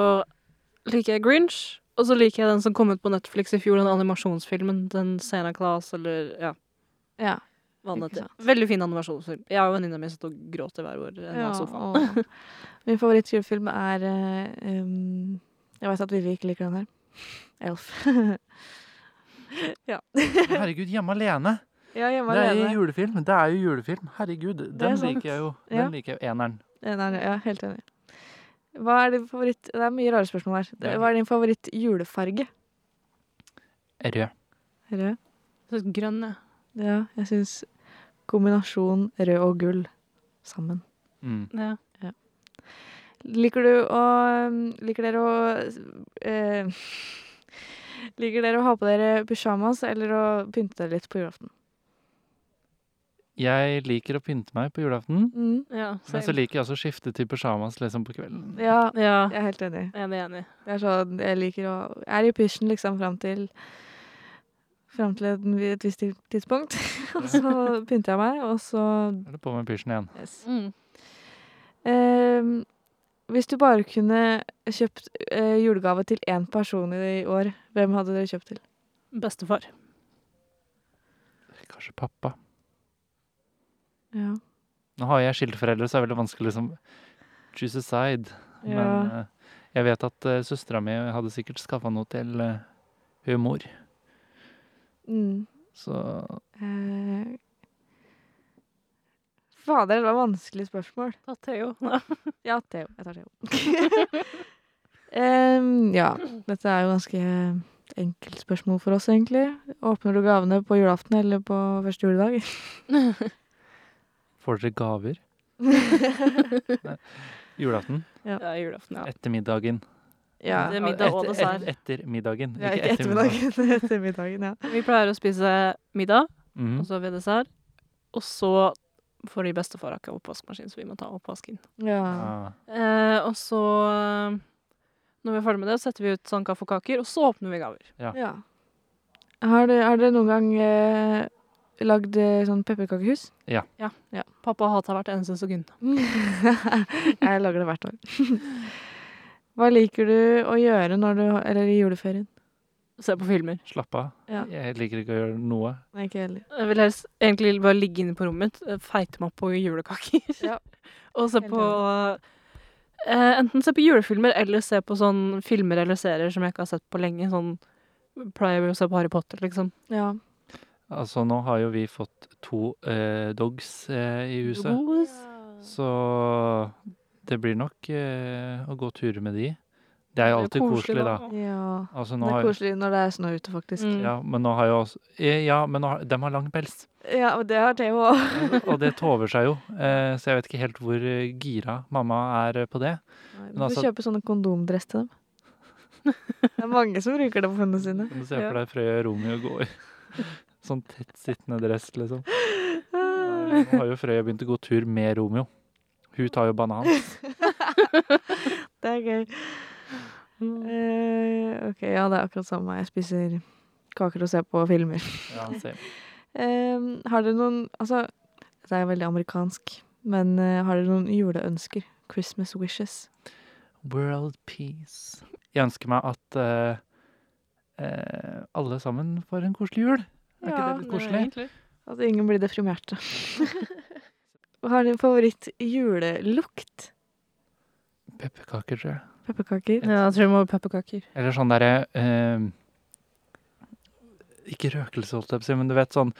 Speaker 3: liker jeg Grinch. Og så liker jeg den som kom ut på Netflix i fjor, den animasjonsfilmen. Den Santa Claus, eller ja,
Speaker 2: Ja.
Speaker 3: hva den
Speaker 2: Ikke
Speaker 3: heter.
Speaker 2: sant.
Speaker 3: Veldig fin animasjonsfilm. Jeg og venninna mi sitter og gråter hver vår ende av sofaen.
Speaker 2: åh. Min favorittjulefilm er eh, um, Jeg vet at Vivi ikke liker den her. Elf. ja.
Speaker 1: Herregud, Hjemme alene!
Speaker 2: ja, hjemme
Speaker 1: Det er jo
Speaker 2: alene.
Speaker 1: julefilm. Det er jo julefilm. Herregud, den
Speaker 2: sant.
Speaker 1: liker jeg jo. Den
Speaker 2: Ja.
Speaker 1: liker jeg jo. Eneren.
Speaker 2: Eh, Nei, nei, ja, helt enig. Hva er din favoritt Det er mye rare spørsmål her. Det-
Speaker 1: Ja.
Speaker 2: Hva er din favoritt-julefarge?
Speaker 1: Rød.
Speaker 2: Rød?
Speaker 3: Jeg synes Grønn, jeg.
Speaker 2: Ja, jeg syns kombinasjon rød og gull sammen.
Speaker 1: Mm.
Speaker 3: Ja.
Speaker 2: Liker du å um, Liker dere å eh, Liker dere å ha på dere pysjamas eller å pynte dere litt på julaften?
Speaker 1: Jeg liker å pynte meg på julaften.
Speaker 2: Mm.
Speaker 3: Ja,
Speaker 1: Men så
Speaker 3: same.
Speaker 1: liker jeg også å skifte til pysjamas liksom på kvelden.
Speaker 2: Ja,
Speaker 3: ja,
Speaker 2: jeg er helt enig.
Speaker 3: enig, enig.
Speaker 2: Det er sånn, jeg liker å Jeg er i pysjen liksom fram til Fram til et, et visst tidspunkt. og så pynter jeg meg, og så
Speaker 1: Da er det på med pysjen igjen.
Speaker 2: yes.
Speaker 3: Mm.
Speaker 2: Ehm, Hvis du bare kunne kjøpt eh, julegave til én person i år, hvem hadde dere kjøpt til?
Speaker 3: Bestefar.
Speaker 1: Kanskje pappa.
Speaker 2: Ja.
Speaker 1: Nå har jeg skiltforeldre, så er det veldig vanskelig å liksom choose a side.
Speaker 2: ja.
Speaker 1: Men eh, jeg vet at uh, søstera mi hadde sikkert skaffa noe til uh, hun mor.
Speaker 2: Mm.
Speaker 1: Så
Speaker 2: Eh, Fader, det var vanskelige spørsmål.
Speaker 3: Ta Theo.
Speaker 2: Ja, Theo. Jeg tar Theo. Em, ja, dette er jo ganske enkelt spørsmål for oss, egentlig. Åpner du gavene på julaften eller på første juledag?
Speaker 1: får dere gaver. Nei. Julaften.
Speaker 3: Ja, julaften, ja.
Speaker 1: Ettermiddagen.
Speaker 2: Ja,
Speaker 3: Det er middag og
Speaker 2: etter-
Speaker 3: dessert.
Speaker 1: Et, etter middagen.
Speaker 2: Ja, ikke ettermiddagen. ettermiddagen, ja.
Speaker 3: Vi pleier å spise middag,
Speaker 1: Mhm.
Speaker 3: og så har vi dessert. Og så får de bestefar ikke oppvaskmaskin, så vi må ta oppvasken.
Speaker 2: ja.
Speaker 1: Ja.
Speaker 3: Eh, og så, eh, når vi er ferdig med det, setter vi ut sånn kaffekakaker, og så åpner vi gaver.
Speaker 2: ja. Har du- har dere noen gang eh, lagd eh, sånn pepperkakehus?
Speaker 3: Pappa hater hvert eneste sekund.
Speaker 2: Jeg lager det hvert år. Hva liker du å gjøre når du, eller i juleferien?
Speaker 3: Se på filmer.
Speaker 1: Slapp av.
Speaker 2: Ja.
Speaker 1: Jeg liker ikke å gjøre noe.
Speaker 2: Nei, ikke heller.
Speaker 3: Jeg vil helst egentlig bare ligge inne på rommet mitt, eh, feite meg på julekaker.
Speaker 2: Ja.
Speaker 3: og se
Speaker 2: Helt
Speaker 3: på eh, Enten se på julefilmer, eller se på sånn filmer eller serier som jeg ikke har sett på lenge. Sånn pleier vi å se på Harry Potter, liksom.
Speaker 2: Ja.
Speaker 1: Altså, nå har jo vi fått to eh, dogs eh, i huset.
Speaker 3: Rose.
Speaker 1: Så det blir nok eh, å gå turer med de. Det er jo alltid koselig, da.
Speaker 2: Ja.
Speaker 1: Altså, nå
Speaker 2: Det er
Speaker 1: har,
Speaker 2: koselig når det er snø ute, faktisk.
Speaker 3: Mm.
Speaker 1: ja, men nå har jo også eh, Ja, men nå har, de har lang pels.
Speaker 2: Ja, og det har Theo òg.
Speaker 1: Og det tover seg jo. Eh, så jeg vet ikke helt hvor eh, gira mamma er eh, på det.
Speaker 2: Du
Speaker 1: Men
Speaker 2: får
Speaker 1: altså-
Speaker 2: kjøpe sånne kondomdress til dem. Det er mange som bruker det på hundene sine.
Speaker 1: Men du ser for deg Frøya Romeo gå i sånn tettsittende dress, liksom. Nå har jo Frøya begynt å gå tur med Romeo. Hun tar jo banan.
Speaker 2: Det er gøy. Eh, ok, ja, det er akkurat samme. Jeg spiser kaker og ser på filmer.
Speaker 1: Ja, se.
Speaker 2: Eh, har dere noen Altså, det er veldig amerikansk, men eh, har dere noen juleønsker? Christmas wishes.
Speaker 1: World peace. Jeg ønsker meg at eh, eh, alle sammen får en koselig jul. Er ikke det litt koselig?
Speaker 2: At Altså, ingen blir deprimerte. har dere en favoritt julelukt?
Speaker 1: Pepperkaker, tror jeg.
Speaker 2: Pepperkaker?
Speaker 3: Ja, jeg tror det må være pepperkaker.
Speaker 1: Eller sånn derre eh, Ikke røkelse, holdt jeg på å si, men du vet sånn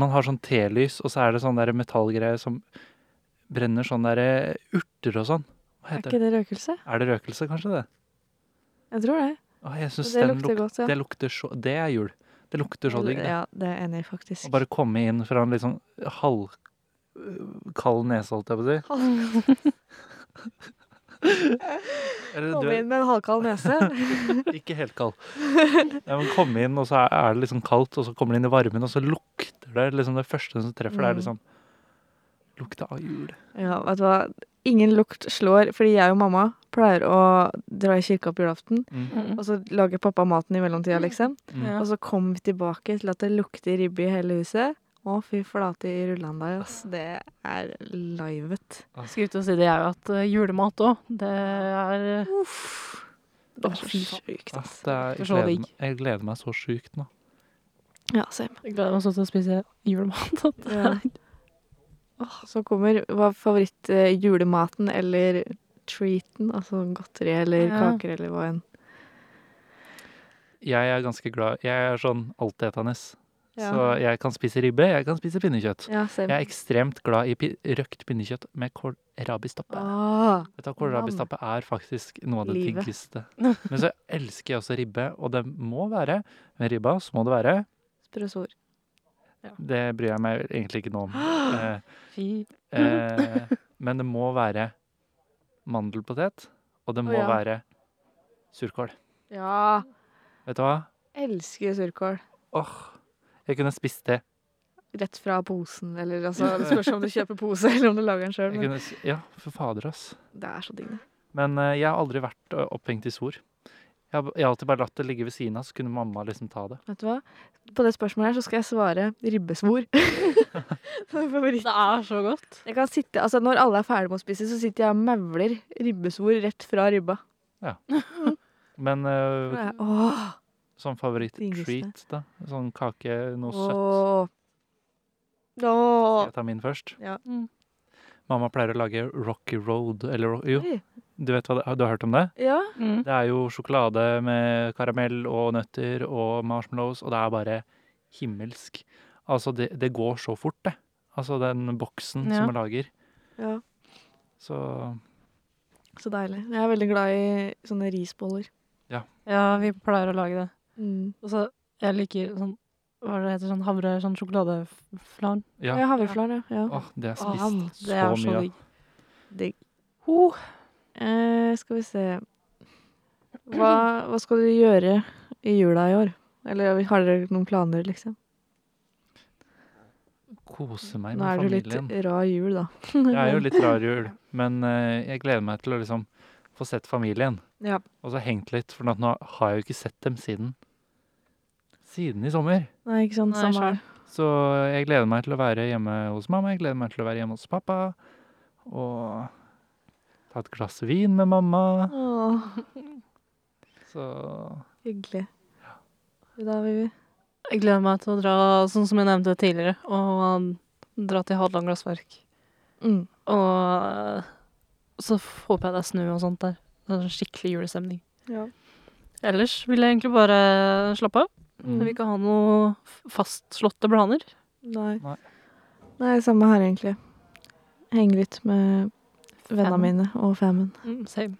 Speaker 1: Man har sånn telys, og så er det sånn derre metallgreier som brenner sånn derre urter og sånn. Hva
Speaker 2: Er
Speaker 1: heter det?
Speaker 2: ikke det røkelse?
Speaker 1: Er det røkelse, kanskje det?
Speaker 2: Jeg tror det.
Speaker 1: Å, jeg
Speaker 2: Og
Speaker 1: syns
Speaker 2: det
Speaker 1: den
Speaker 2: lukter
Speaker 1: lukter
Speaker 2: godt, ja.
Speaker 1: Det lukter så Det er jul. Det lukter så digg. det.
Speaker 2: Ja, det er jeg enig i, faktisk.
Speaker 1: Å bare komme inn fra en litt sånn halv øh, kald nese, holdt jeg på å si.
Speaker 2: Halv-
Speaker 1: Eller du
Speaker 2: Komme
Speaker 1: er
Speaker 2: inn med en halvkald nese.
Speaker 1: ikke helt kald. Ja, men komme inn, og så er- er det liksom kaldt, og så kommer det inn i varmen, og så lukter det liksom Det første som treffer, det er
Speaker 2: Mm.
Speaker 1: liksom Lukta av jul.
Speaker 2: Ja, vet du hva? Ingen lukt slår, fordi jeg og mamma pleier å dra i kirka på julaften. Og så lager pappa maten i mellomtida, liksom.
Speaker 1: Mm.
Speaker 3: Ja.
Speaker 2: Og så kommer vi tilbake til at det lukter ribbe i hele huset. Å, fy flate i rullene der, ass. Det er livet.
Speaker 3: Skal ut og si det, jeg jo, at eh, julemat òg, det er eh,
Speaker 2: Uff. Det
Speaker 3: Å,
Speaker 2: er så
Speaker 3: fy faen.
Speaker 2: sjukt,
Speaker 1: Ja,
Speaker 2: ass.
Speaker 1: Ah, det er, jeg,
Speaker 3: lukter så
Speaker 1: gleder
Speaker 3: digg.
Speaker 1: meg, jeg gleder meg så sjukt nå.
Speaker 2: Ja, same.
Speaker 3: Jeg gleder meg sånn til å spise julemat. at det
Speaker 2: Ja.
Speaker 3: er-
Speaker 2: Åh, Så kommer hva favoritt-julematen eller treaten, altså godteri eller
Speaker 3: Ja.
Speaker 2: kaker eller hva enn.
Speaker 1: Jeg er ganske glad Jeg er sånn altetende.
Speaker 2: Ja.
Speaker 1: Så jeg kan spise ribbe, jeg kan spise pinnekjøtt.
Speaker 2: Ja, same.
Speaker 1: Jeg er ekstremt glad i pi røkt pinnekjøtt med kålrabistappe.
Speaker 2: Ah,
Speaker 1: Vet du, hva, Kålrabistappe er faktisk noe av det
Speaker 2: Livet.
Speaker 1: diggeste. Men så elsker jeg også ribbe, og det må være med ribba, så må det være.
Speaker 2: Sprøsord.
Speaker 1: Det bryr jeg meg egentlig ikke noe om. Eh,
Speaker 3: Fy.
Speaker 1: eh, men det må være mandelpotet, og det
Speaker 2: Å,
Speaker 1: må
Speaker 2: ja.
Speaker 1: være surkål.
Speaker 2: Ja.
Speaker 1: Vet du hva?
Speaker 2: Elsker surkål.
Speaker 1: Åh, jeg kunne spist det.
Speaker 2: Rett fra posen, eller altså Det spørs om du kjøper pose, eller om du lager den sjøl,
Speaker 1: Jeg
Speaker 2: men
Speaker 1: kunne, s- ja, for fader, ass.
Speaker 2: det er så digg. det.
Speaker 1: Men eh, jeg har aldri vært eh, opphengt i sor. Jeg har, jeg har alltid bare latt det ligge ved siden av, så kunne mamma liksom ta det.
Speaker 2: Vet du hva? På det spørsmålet her så skal jeg svare ribbesvor. Som er favoritt.
Speaker 3: Det er så godt.
Speaker 2: Jeg kan sitte, altså Når alle er ferdige med å spise, så sitter jeg og mauler ribbesvor rett fra ribba.
Speaker 1: Men eh,
Speaker 2: Det er- Åh,
Speaker 1: Sånn favoritt-treat,
Speaker 2: Diggeste.
Speaker 1: da? Sånn kake, noe søtt?
Speaker 2: åh. Åh.
Speaker 1: Skal jeg ta min først?
Speaker 2: Ja.
Speaker 3: Mm.
Speaker 1: Mamma pleier å lage Rocky Road, eller ro- jo,
Speaker 2: Oi.
Speaker 1: du vet hva det, du har hørt om det?
Speaker 2: Ja.
Speaker 3: Mm.
Speaker 1: Det er jo sjokolade med karamell og nøtter og marshmallows, og det er bare himmelsk. Altså, det, det går så fort, det. Altså den boksen
Speaker 3: Ja.
Speaker 1: som jeg lager.
Speaker 2: ja.
Speaker 1: Så
Speaker 2: Så deilig. Jeg er veldig glad i sånne risboller.
Speaker 3: Ja, vi pleier å lage det.
Speaker 2: Mm.
Speaker 3: Og så, jeg liker sånn Hva er det det heter? Sånn havre, sånn sjokoladeflan.
Speaker 1: Ja.
Speaker 2: Ja, havreflar, ja. ja.
Speaker 1: Åh, det har jeg
Speaker 2: Åh,
Speaker 1: spist
Speaker 3: Det
Speaker 1: så
Speaker 3: er så
Speaker 1: mye av.
Speaker 3: digg.
Speaker 2: Digg.
Speaker 3: Ho!
Speaker 2: Eh, skal vi se hva, hva skal du gjøre i jula i år? Eller har dere noen planer, liksom?
Speaker 1: Kose meg
Speaker 2: Nå
Speaker 1: med
Speaker 2: er det jo litt
Speaker 1: familien.
Speaker 2: rar jul, da.
Speaker 1: Jeg er jo litt rar jul, men eh, jeg gleder meg til å liksom få sett familien.
Speaker 2: Ja.
Speaker 1: Og så hengt litt, for nå har jeg jo ikke sett dem siden Siden i sommer.
Speaker 2: Nei, ikke sant?
Speaker 3: Nei,
Speaker 2: Samme her.
Speaker 1: Så jeg gleder meg til å være hjemme hos mamma, jeg gleder meg til å være hjemme hos pappa. Og ta et glass vin med mamma.
Speaker 2: Åh,
Speaker 1: Så
Speaker 2: hyggelig. Da, Vivi?
Speaker 3: Jeg gleder meg til å dra, sånn som jeg nevnte tidligere, og dra til Hadeland Glassverk.
Speaker 2: Mm.
Speaker 3: Og eh, så håper jeg det er snø og sånt der. Sånn Skikkelig julestemning.
Speaker 2: Ja.
Speaker 3: Ellers vil jeg egentlig bare slappe av. Jeg vil
Speaker 2: Mm.
Speaker 3: ikke ha noe f- fastslåtte planer.
Speaker 2: Nei.
Speaker 1: Nei.
Speaker 2: Nei, samme her, egentlig. Henge litt med vennene
Speaker 3: Fanen.
Speaker 2: mine og famen.
Speaker 3: Mm, Same.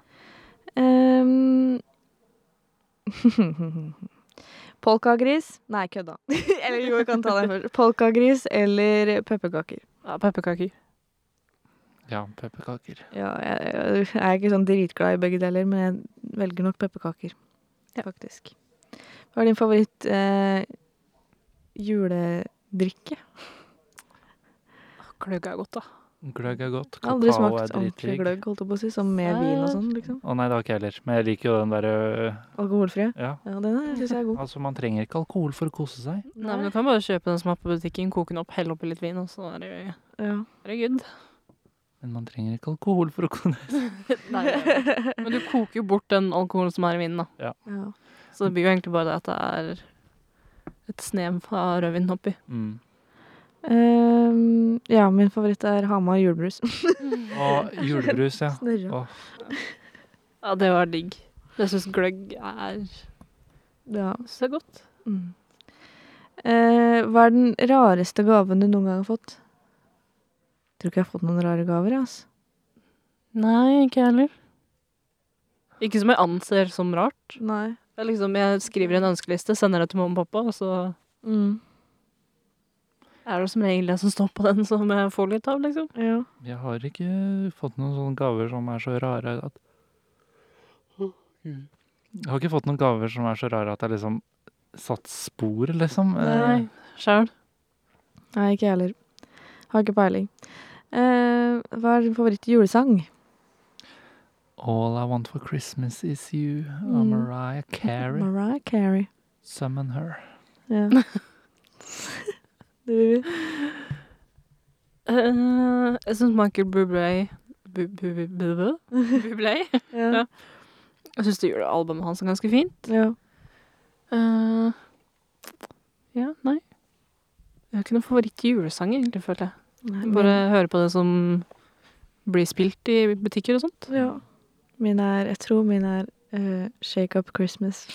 Speaker 2: Ehm. Polkagris Nei, kødda. eller jo, jeg kan ta den først. Polkagris eller pepperkaker.
Speaker 3: Ja, Pepperkaker.
Speaker 1: Ja, pepperkaker.
Speaker 2: Ja, jeg, jeg er ikke sånn dritglad i begge deler, men jeg velger nok pepperkaker. Faktisk. Hva er din favoritt eh, juledrikke?
Speaker 3: Gløgg er godt, da.
Speaker 1: Gløgg er godt.
Speaker 2: Jeg har
Speaker 1: Kakao
Speaker 2: aldri
Speaker 1: er
Speaker 2: smakt ordentlig
Speaker 1: dritdigg.
Speaker 2: gløgg, holdt jeg på å si, som med
Speaker 3: Nei.
Speaker 2: vin og sånn, liksom.
Speaker 1: Å nei, det har ikke jeg heller. Men jeg liker jo den derre
Speaker 2: Alkoholfrie.
Speaker 1: Ja.
Speaker 2: Ja, den er- synes jeg er god.
Speaker 1: Altså, man trenger ikke alkohol for å kose seg.
Speaker 3: Nei, men Du kan bare kjøpe den som er på butikken, koke den opp, helle oppi litt vin, og så er det,
Speaker 2: Ja.
Speaker 3: er det good.
Speaker 1: Men man trenger ikke alkohol for å kose
Speaker 3: Nei, men du koker jo bort den alkoholen som er i vinen, da.
Speaker 2: ja.
Speaker 3: Så det blir jo egentlig bare det at det er et snev av rødvin oppi.
Speaker 1: mm.
Speaker 2: Ehm, ja, min favoritt er Hamar julebrus.
Speaker 1: Og julebrus, ja.
Speaker 2: Snørra.
Speaker 1: Åh,
Speaker 3: Ja, det var digg. Jeg syns gløgg er
Speaker 2: Ja.
Speaker 3: så godt.
Speaker 2: Mm. Eh, hva er den rareste gaven du noen gang har fått? Tror ikke jeg har fått noen rare gaver, jeg, altså.
Speaker 3: Nei, ikke jeg heller. Ikke som jeg anser som rart.
Speaker 2: Nei.
Speaker 3: Jeg, liksom, jeg skriver en ønskeliste, sender det til mamma og pappa, og så
Speaker 2: Mm.
Speaker 3: er det som regel det som står på den som jeg får litt av, liksom.
Speaker 2: Ja.
Speaker 1: jeg har ikke fått noen sånne gaver som er så rare at
Speaker 3: Mm.
Speaker 1: Jeg har ikke fått noen gaver som er så rare at jeg liksom satt spor, liksom.
Speaker 3: Nei, sjæl.
Speaker 2: Nei, ikke jeg heller. Har ikke peiling. Eh, hva er din favoritt-julesang?
Speaker 1: All I want for Christmas is you, av
Speaker 2: Mm.
Speaker 1: Mariah Carey.
Speaker 2: Mariah Carey.
Speaker 1: Summon her.
Speaker 2: Ja. du
Speaker 3: Eh, jeg syns Michael Bublé Bu- Bu- Bu- Bu- Bu- Bublé?
Speaker 2: Ja.
Speaker 3: Jeg syns det julealbumet hans er ganske fint.
Speaker 2: ja.
Speaker 3: Eh, ja, nei. Jeg har ikke noen favoritt-julesang, egentlig, føler jeg.
Speaker 2: Nei,
Speaker 3: Bare høre på det som blir spilt i butikker og sånt.
Speaker 2: min- ja. Min er Jeg tror min er eh, Shake Up Christmas.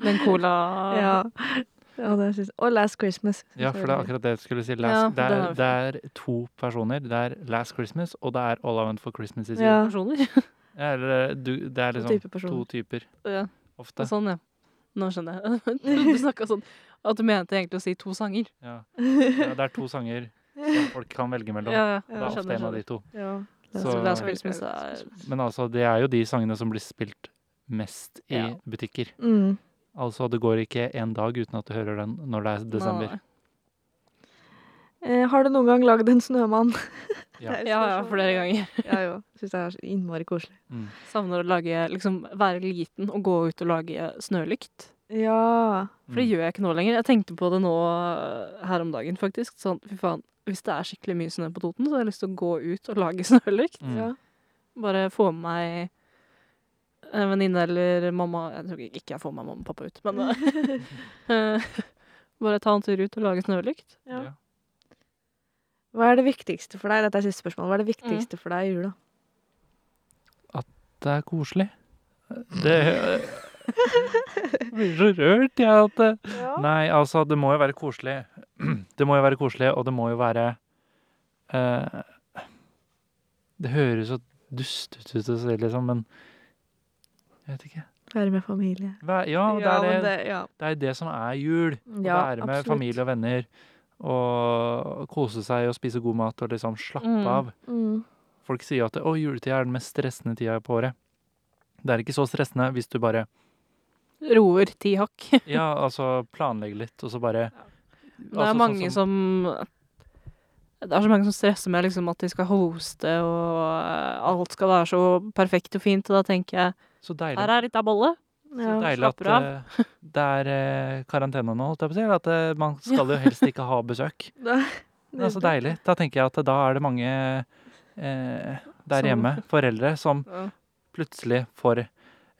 Speaker 3: Den cola
Speaker 2: Ja. ja det synes, og Last Christmas. synes
Speaker 1: Ja, for
Speaker 2: jeg
Speaker 1: det er
Speaker 2: veldig.
Speaker 1: akkurat det jeg skulle si.
Speaker 3: Ja,
Speaker 1: Last, det,
Speaker 3: den
Speaker 1: er,
Speaker 3: er
Speaker 1: det er to personer. Det er Last Christmas, og det er All I want for Christmas is
Speaker 2: Ja.
Speaker 1: you.
Speaker 3: personer.
Speaker 1: Ja, Eller, du, det er
Speaker 2: To
Speaker 1: liksom
Speaker 2: typer personer.
Speaker 1: to typer
Speaker 3: ja,
Speaker 1: ofte.
Speaker 3: sånn, ja. Nå skjønner jeg. Du snakka sånn at du mente egentlig å si to sanger.
Speaker 1: Ja. ja, det er to sanger som folk kan velge mellom.
Speaker 3: Ja, ja.
Speaker 1: det er ofte
Speaker 3: skjønner,
Speaker 1: en av de
Speaker 3: skjønner.
Speaker 1: to.
Speaker 2: Ja.
Speaker 1: Så-
Speaker 3: Så Last Christmas er
Speaker 1: Men altså, det er jo de sangene som blir spilt mest i
Speaker 3: Ja.
Speaker 1: butikker.
Speaker 2: Mm.
Speaker 1: Altså, det går ikke en dag uten at du hører den når det er desember.
Speaker 3: Nei,
Speaker 2: Eh, har du noen gang lagd en snømann?
Speaker 1: Ja.
Speaker 2: Det er et
Speaker 3: Ja, ja,
Speaker 2: spørsmål.
Speaker 3: flere ganger.
Speaker 2: Ja, jo. Syns det er så innmari koselig.
Speaker 1: Mm.
Speaker 3: Savner å lage, liksom, være liten og gå ut og lage snølykt.
Speaker 2: Ja.
Speaker 1: Mm.
Speaker 3: For det gjør jeg ikke nå lenger. Jeg tenkte på det nå øh, her om dagen, faktisk. Sånn, fy faen, hvis det er skikkelig mye snø på Toten, så har jeg lyst til å gå ut og lage snølykt.
Speaker 1: Mm.
Speaker 2: ja.
Speaker 3: Bare få med meg en venninne eller mamma Jeg tror ikke jeg får med mamma og pappa ut, men øh, Bare ta en tur ut og lage snølykt.
Speaker 2: Ja.
Speaker 1: Ja.
Speaker 2: Hva er det viktigste for deg? Dette er siste spørsmål. Hva er det viktigste for deg i jula?
Speaker 1: Det er koselig. Det Jeg blir så rørt, jeg, at det Nei, altså, det må jo være koselig. Det må jo være koselig, og det må jo være eh, Det høres så dust ut, ut å si, liksom, men Jeg vet ikke.
Speaker 2: Være med familie.
Speaker 1: Væ- Ja, det
Speaker 2: Ja,
Speaker 1: er
Speaker 2: men
Speaker 1: det,
Speaker 2: det- ja.
Speaker 1: det, er det som er jul. Å
Speaker 2: Ja,
Speaker 1: være med
Speaker 2: absolutt.
Speaker 1: familie og venner og kose seg og spise god mat og liksom slappe
Speaker 3: Mm.
Speaker 1: av.
Speaker 2: Mm.
Speaker 1: Folk sier jo at å, juletida er den mest stressende tida på året. Det er ikke så stressende hvis du bare
Speaker 3: Roer ti hakk.
Speaker 1: Ja, altså planlegger litt, og så bare
Speaker 3: Det
Speaker 1: Altså, sånn
Speaker 3: er mange som det er så mange som stresser med liksom at de skal hoste, og øh, alt skal være så perfekt og fint. Og da tenker jeg
Speaker 1: Så deilig.
Speaker 3: her er litt av bolle.
Speaker 1: Så
Speaker 2: Ja.
Speaker 1: deilig at
Speaker 3: slapper av.
Speaker 1: eh, det er eh, karantene nå, holdt jeg på å si. At eh, man skal jo helst ikke ha besøk. Det er så deilig. Da tenker jeg at da er det mange eh, der
Speaker 3: Som-
Speaker 1: hjemme, foreldre, som
Speaker 3: Ja.
Speaker 1: plutselig får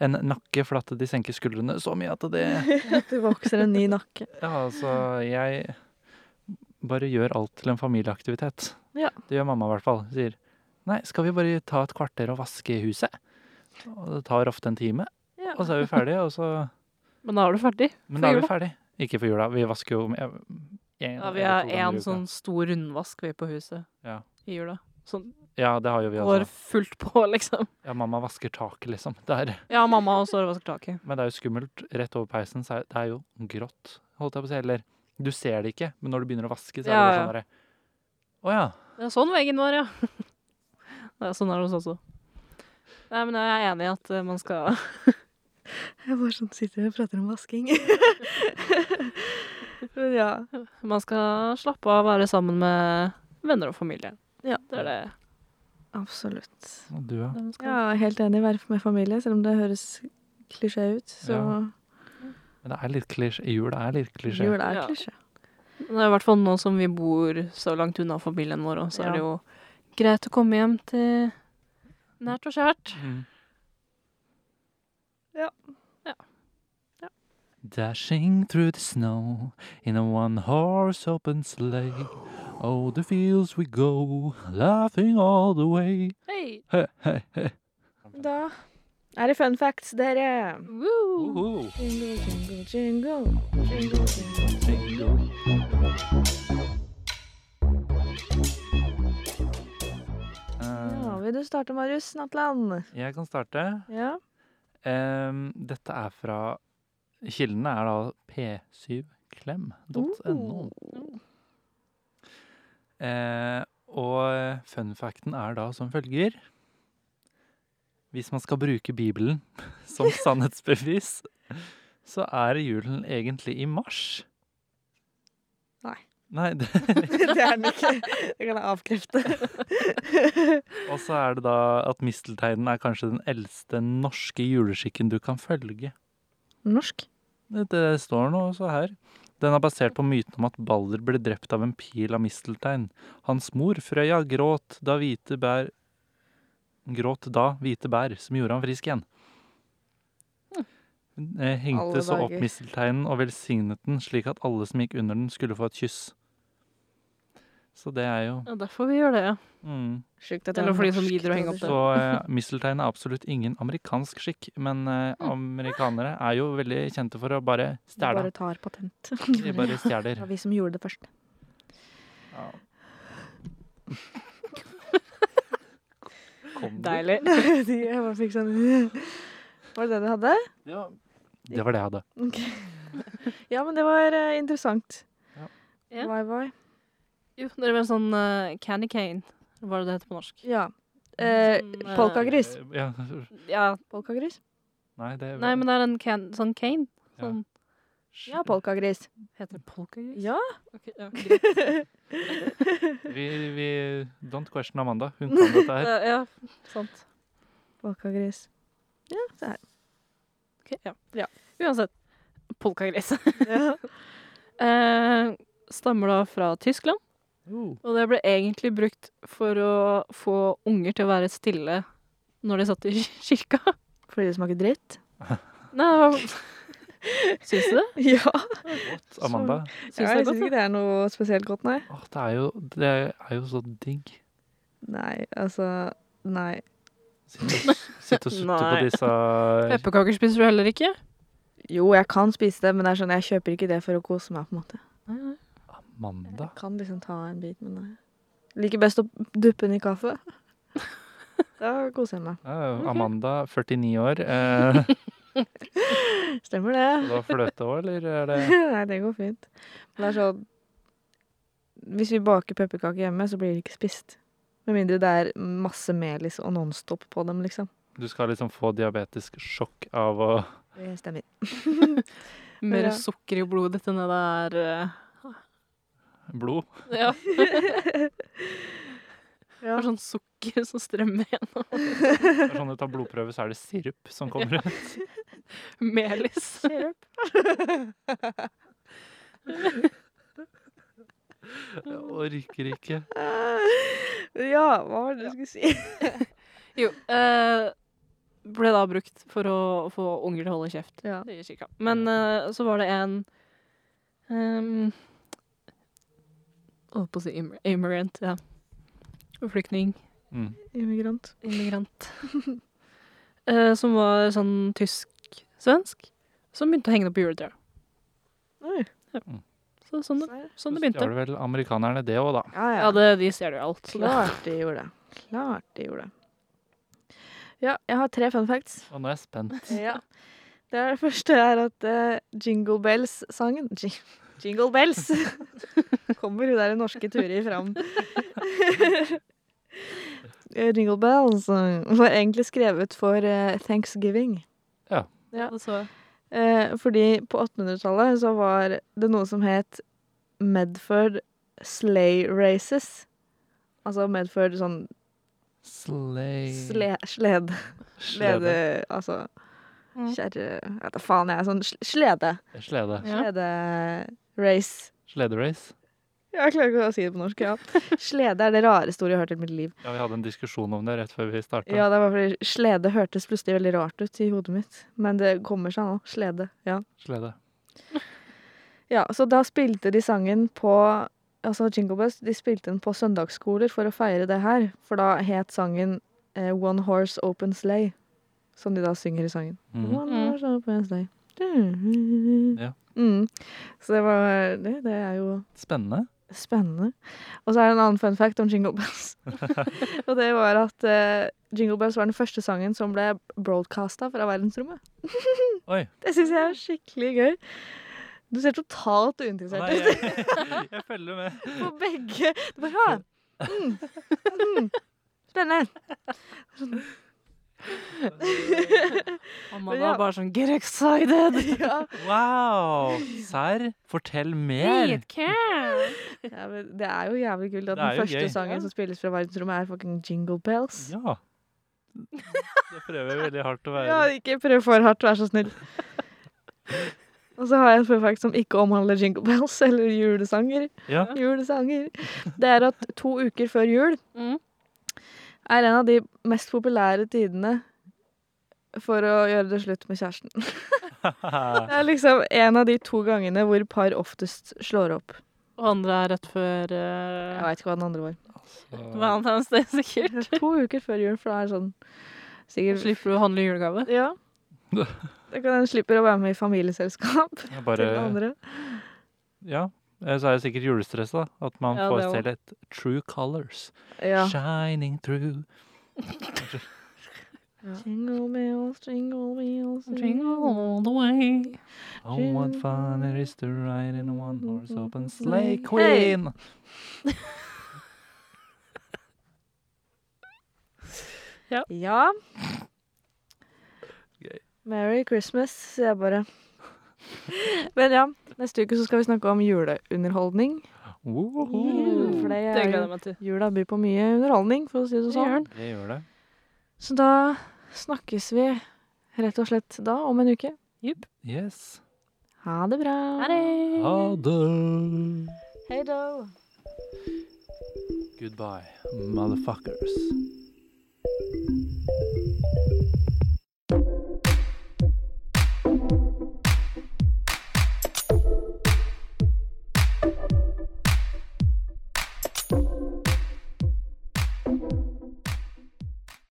Speaker 1: en nakke for at de senker skuldrene så mye at det
Speaker 2: Det vokser en ny nakke.
Speaker 1: Ja, altså, jeg bare gjør alt til en familieaktivitet.
Speaker 2: Ja.
Speaker 1: Det gjør mamma i hvert fall. Sier nei, skal vi bare ta et kvarter og vaske huset? Og det tar ofte en time,
Speaker 2: Ja.
Speaker 1: og så er vi ferdige, og så
Speaker 3: Men da er du ferdig.
Speaker 1: Men
Speaker 3: For
Speaker 1: da er vi
Speaker 3: jula?
Speaker 1: ferdig. Ikke for jula. Vi vasker jo med en
Speaker 3: Ja, vi sånn
Speaker 1: eller
Speaker 3: har
Speaker 1: to ganger i
Speaker 3: én
Speaker 1: uka.
Speaker 3: sånn stor rundvask vi på huset
Speaker 1: Ja.
Speaker 3: i jula. Sånn
Speaker 1: Ja, altså. det har jo vi
Speaker 3: Går
Speaker 1: også.
Speaker 3: fullt på, liksom.
Speaker 1: Ja, mamma vasker taket, liksom. Det er,
Speaker 3: Ja, mamma og Sår vasker taket.
Speaker 1: men det er jo skummelt. Rett over peisen så er det er jo grått, holdt jeg på å si. Eller du ser det ikke, men når du begynner å vaske, så er det bare sånn derre
Speaker 3: Ja,
Speaker 1: Å ja.
Speaker 3: Det er sånn veggen var, ja. Det er sånn er det hos oss også. Nei, men jeg er enig i at eh, man skal
Speaker 2: Jeg bare sånn sitter og prater om vasking. Men ja.
Speaker 3: Man skal slappe av og være sammen med venner og familie.
Speaker 2: Ja.
Speaker 3: Det er det.
Speaker 2: Absolutt.
Speaker 1: Og Du, ja.
Speaker 3: det man skal.
Speaker 2: Ja, helt enig. Være med familie, selv om det høres klisjé ut. Så
Speaker 1: Men det er litt klisjé. Jul er litt klisjé.
Speaker 2: jul er
Speaker 3: Ja.
Speaker 2: klisjé.
Speaker 3: Det er I hvert fall nå som vi bor så langt unna familien vår, også, så
Speaker 2: Ja.
Speaker 3: er det jo greit å komme hjem til nært og kjært.
Speaker 1: Mm.
Speaker 2: Ja.
Speaker 3: Ja.
Speaker 2: Ja.
Speaker 1: Dashing through the snow in a one horse open sleigh. Oh, the fields we go, laughing all the way.
Speaker 3: Hei!
Speaker 1: He, he, he.
Speaker 2: Da er det fun facts, dere.
Speaker 3: Woo!
Speaker 1: Uhu.
Speaker 2: Jingle, jingle, jingle. Jingle, jingle. Ja,
Speaker 1: Eh,
Speaker 2: vil du starte, Marius Natland?
Speaker 1: jeg kan starte.
Speaker 2: Ja.
Speaker 1: Em, dette er fra Kildene er da p7klem.no.
Speaker 2: Oh.
Speaker 1: Eh, og fun facten er da som følger Hvis man skal bruke Bibelen som sannhetsbevis, så er julen egentlig i mars.
Speaker 2: Nei.
Speaker 1: Nei, det,
Speaker 2: det er den ikke. Det kan jeg avkrefte.
Speaker 1: Og så er det da at mistelteinen er kanskje den eldste norske juleskikken du kan følge.
Speaker 2: Norsk?
Speaker 1: Det, det står nå også her. Den er basert på myten om at Balder ble drept av en pil av misteltein. Hans mor, Frøya, gråt da hvite bær Gråt da hvite bær, som gjorde ham frisk igjen. Hun eh, hengte
Speaker 2: Hm. Alle
Speaker 1: så opp
Speaker 2: dager.
Speaker 1: mistelteinen og velsignet den, slik at alle som gikk under den, skulle få et kyss. Så det er jo
Speaker 3: Ja, derfor vi gjør det, ja.
Speaker 1: mm.
Speaker 2: Sjukt at
Speaker 3: Eller
Speaker 2: er
Speaker 3: for de som
Speaker 2: norsk
Speaker 3: gidder å henge opp
Speaker 2: tradisjon.
Speaker 1: Så eh, misteltein er absolutt ingen amerikansk skikk, men eh, amerikanere er jo veldig kjente for å bare
Speaker 2: Hm.
Speaker 1: stjele.
Speaker 2: De bare tar patent.
Speaker 1: De bare
Speaker 2: Det
Speaker 1: stjeler.
Speaker 2: var vi som gjorde det først.
Speaker 1: Ja. Kom du?
Speaker 3: Deilig.
Speaker 2: De jeg bare fikk sånn Var det det du hadde?
Speaker 1: Ja. Det var det jeg hadde.
Speaker 2: Ok. Ja, men det var eh, interessant.
Speaker 1: Ja.
Speaker 3: Ja.
Speaker 2: Vai, vai.
Speaker 3: Jo, det er vel sånn eh, candy cane, hva er det det heter på norsk?
Speaker 2: Ja. Eh,
Speaker 3: Sånn, eh,
Speaker 2: Polkagris.
Speaker 1: Ja.
Speaker 3: Ja,
Speaker 2: Polkagris?
Speaker 1: Nei, det
Speaker 3: nei, men det er en can sånn cane. Sånn,
Speaker 2: Ja, polkagris.
Speaker 3: Heter det polkagris?
Speaker 2: Ja.
Speaker 3: Ok, ja, greit.
Speaker 1: vi, vi Don't question Amanda. Hun kan dette her.
Speaker 3: ja, ja, sant.
Speaker 2: Polkagris.
Speaker 3: Ok, ja.
Speaker 2: Ja.
Speaker 3: Uansett, polkagris.
Speaker 2: Ja.
Speaker 3: Eh, stammer da fra Tyskland.
Speaker 1: Oh,
Speaker 3: Og det ble egentlig brukt for å få unger til å være stille når de satt i kirka.
Speaker 2: Fordi det smaker dritt?
Speaker 3: Nei, det var... Syns du det?
Speaker 2: Ja.
Speaker 1: Godt, Amanda.
Speaker 3: Syns
Speaker 2: ja
Speaker 3: det
Speaker 2: jeg
Speaker 3: er
Speaker 2: syns
Speaker 3: godt,
Speaker 2: ikke
Speaker 3: da?
Speaker 2: det er noe spesielt godt, nei.
Speaker 1: Åh, det, er jo, det er jo så digg.
Speaker 2: Nei, altså Nei.
Speaker 1: Sitte og, sitte og sutte på
Speaker 3: Nei.
Speaker 1: disse
Speaker 3: Pepperkaker spiser du heller ikke?
Speaker 2: Jo, jeg kan spise det, men det er sånn, jeg kjøper ikke det for å kose meg. på en måte.
Speaker 1: Amanda.
Speaker 2: Jeg kan liksom ta en bit, men nei. Liker best å duppe den i kaffe. Da koser jeg meg.
Speaker 1: Ja, Eh, Amanda, 49 år. Eh,
Speaker 2: Stemmer det.
Speaker 1: det var fløte òg, eller er det
Speaker 2: Nei, det går fint. Men det er sånn Hvis vi baker pepperkaker hjemme, så blir de ikke spist. Med mindre det er masse melis og Nonstop på dem, liksom.
Speaker 1: Du skal liksom få diabetisk sjokk av å
Speaker 2: Det stemmer.
Speaker 3: Mer
Speaker 2: Ja.
Speaker 3: sukker i blodet enn det der
Speaker 1: blod.
Speaker 3: eh, Ja, det
Speaker 2: Ja.
Speaker 3: er sånn sukker som strømmer gjennom.
Speaker 1: Det er sånn du tar blodprøve, så er det sirup som kommer ut.
Speaker 3: Melis.
Speaker 1: Jeg orker ikke.
Speaker 2: ja, hva var det du skulle si?
Speaker 3: Jo, eh, ble da brukt for å få unger til å holde kjeft.
Speaker 2: Ja.
Speaker 3: Det gir cirka. Men eh, så var det en um, Holdt på å si immig- immigrant, ja. Flyktning.
Speaker 1: Mm.
Speaker 2: Immigrant.
Speaker 3: Immigrant. Eh, som var sånn tysk-svensk. Som begynte å henge det opp juletreet.
Speaker 2: Oi.
Speaker 3: Så sånn,
Speaker 2: Ja,
Speaker 3: det- sånn det
Speaker 1: Så stjal
Speaker 3: begynte.
Speaker 1: vel amerikanerne det òg, da.
Speaker 2: ja.
Speaker 3: Ja, det, de ser det jo alt. Så det.
Speaker 2: Klart de gjorde det. Klart de gjorde det. Ja, jeg har tre fun facts.
Speaker 1: Og nå er jeg spent.
Speaker 2: Ja. Det, er det første er at eh, Jingle Bells-sangen Jing- Jingle Bells! Kommer hun der i norske turer fram. Eh, Jingle Bells eh, var egentlig skrevet for eh, Thanksgiving. Ja.
Speaker 3: Det så jeg.
Speaker 2: Eh, fordi på 800-tallet så var det noe som het Medford Sleigh Races. Altså Medford sånn
Speaker 1: Slay.
Speaker 2: sle, sled,
Speaker 1: Slede.
Speaker 2: slede Altså
Speaker 3: Mm.
Speaker 2: kjerre Jeg vet da faen, jeg. Sånn sl- slede.
Speaker 1: Slede.
Speaker 3: Ja.
Speaker 2: Slede-race.
Speaker 1: Slederace.
Speaker 2: Jeg klarer ikke å si det på norsk. ja. Slede er det rareste ordet jeg har hørt i mitt liv.
Speaker 1: Ja, vi hadde en diskusjon om det rett før vi starta.
Speaker 2: Ja, det var fordi Slede hørtes plutselig veldig rart ut i hodet mitt. Men det kommer seg nå. Slede. Ja.
Speaker 1: Slede.
Speaker 2: ja så da spilte de sangen på Altså Jingle Bells, de spilte den på søndagsskoler for å feire det her. For da het sangen eh, One Horse Open Sleigh. Som de da synger i sangen.
Speaker 1: Mhm.
Speaker 2: One
Speaker 3: Mm.
Speaker 2: Horse Open Sleigh. Du-
Speaker 1: Ja.
Speaker 2: Mm. Så det var det, det er jo
Speaker 1: Spennende.
Speaker 2: Spennende. Og så er det en annen fun fact om Jingle Bells. og det var at eh, Jingle Bells var den første sangen som ble broadcasta fra verdensrommet.
Speaker 1: Oi.
Speaker 2: Det syns jeg er skikkelig gøy. Du ser totalt uinteressert
Speaker 1: Nei,
Speaker 2: ut
Speaker 1: jeg, jeg følger med.
Speaker 2: på begge. Du bare ja. Mm. Mm. Spennende.
Speaker 3: Amanda
Speaker 2: Ja.
Speaker 3: var bare sånn Get excited!
Speaker 2: Ja.
Speaker 1: Wow! Serr, fortell mer!
Speaker 3: Dritkult!
Speaker 2: Ja, men det er jo jævlig kult at
Speaker 1: Det er
Speaker 2: den
Speaker 1: jo
Speaker 2: første
Speaker 1: gøy.
Speaker 2: sangen
Speaker 3: Ja.
Speaker 2: som spilles fra verdensrommet, er fucking Jingle Bells.
Speaker 1: Ja. Det prøver jeg veldig hardt å være.
Speaker 2: Ja, ikke prøv for hardt, vær så snill. Og så har jeg en fun fact som ikke omhandler Jingle Bells eller julesanger.
Speaker 1: Ja.
Speaker 2: Julesanger. Det er at to uker før jul
Speaker 3: Mm.
Speaker 2: er en av de mest populære tidene for å gjøre det slutt med kjæresten. Det er liksom en av de to gangene hvor par oftest slår opp.
Speaker 3: Og andre er rett før eh,
Speaker 2: Jeg veit ikke hva den andre var.
Speaker 1: Så-
Speaker 3: Valentine's Day, sikkert.
Speaker 2: To uker før jul, for da er det sånn sikkert
Speaker 3: Slipper du å handle julegave?
Speaker 2: Ja. Da kan en slipper å være med i familieselskap
Speaker 1: jeg
Speaker 2: til
Speaker 1: Bare
Speaker 2: andre.
Speaker 1: Ja. eh, Så er det sikkert julestress, da. At man
Speaker 3: Ja,
Speaker 1: får
Speaker 3: det også.
Speaker 1: selv et true colors.
Speaker 2: Ja.
Speaker 1: Shining through.
Speaker 2: Jingle bells, jingle bells,
Speaker 3: Jingle all the way.
Speaker 1: Oh, what fun it is to ride in a one horse open sleigh
Speaker 2: Hey.
Speaker 1: queen!
Speaker 2: Ja.
Speaker 1: Gøy.
Speaker 2: Merry Christmas, sier jeg bare. Men ja, neste uke så skal vi snakke om juleunderholdning.
Speaker 1: Woho!
Speaker 2: For det
Speaker 3: Mm. Det
Speaker 2: er
Speaker 3: gleder
Speaker 2: jo
Speaker 3: jeg meg til.
Speaker 2: Jula byr på mye underholdning, for å si det
Speaker 3: Det gjør
Speaker 2: sånn.
Speaker 3: den.
Speaker 1: Det gjør det.
Speaker 2: Så da snakkes vi rett og slett da om en uke.
Speaker 1: Yes.
Speaker 2: Ha det bra.
Speaker 3: Ha det!
Speaker 1: Ha det!
Speaker 2: Hei då.
Speaker 1: Goodbye, motherfuckers.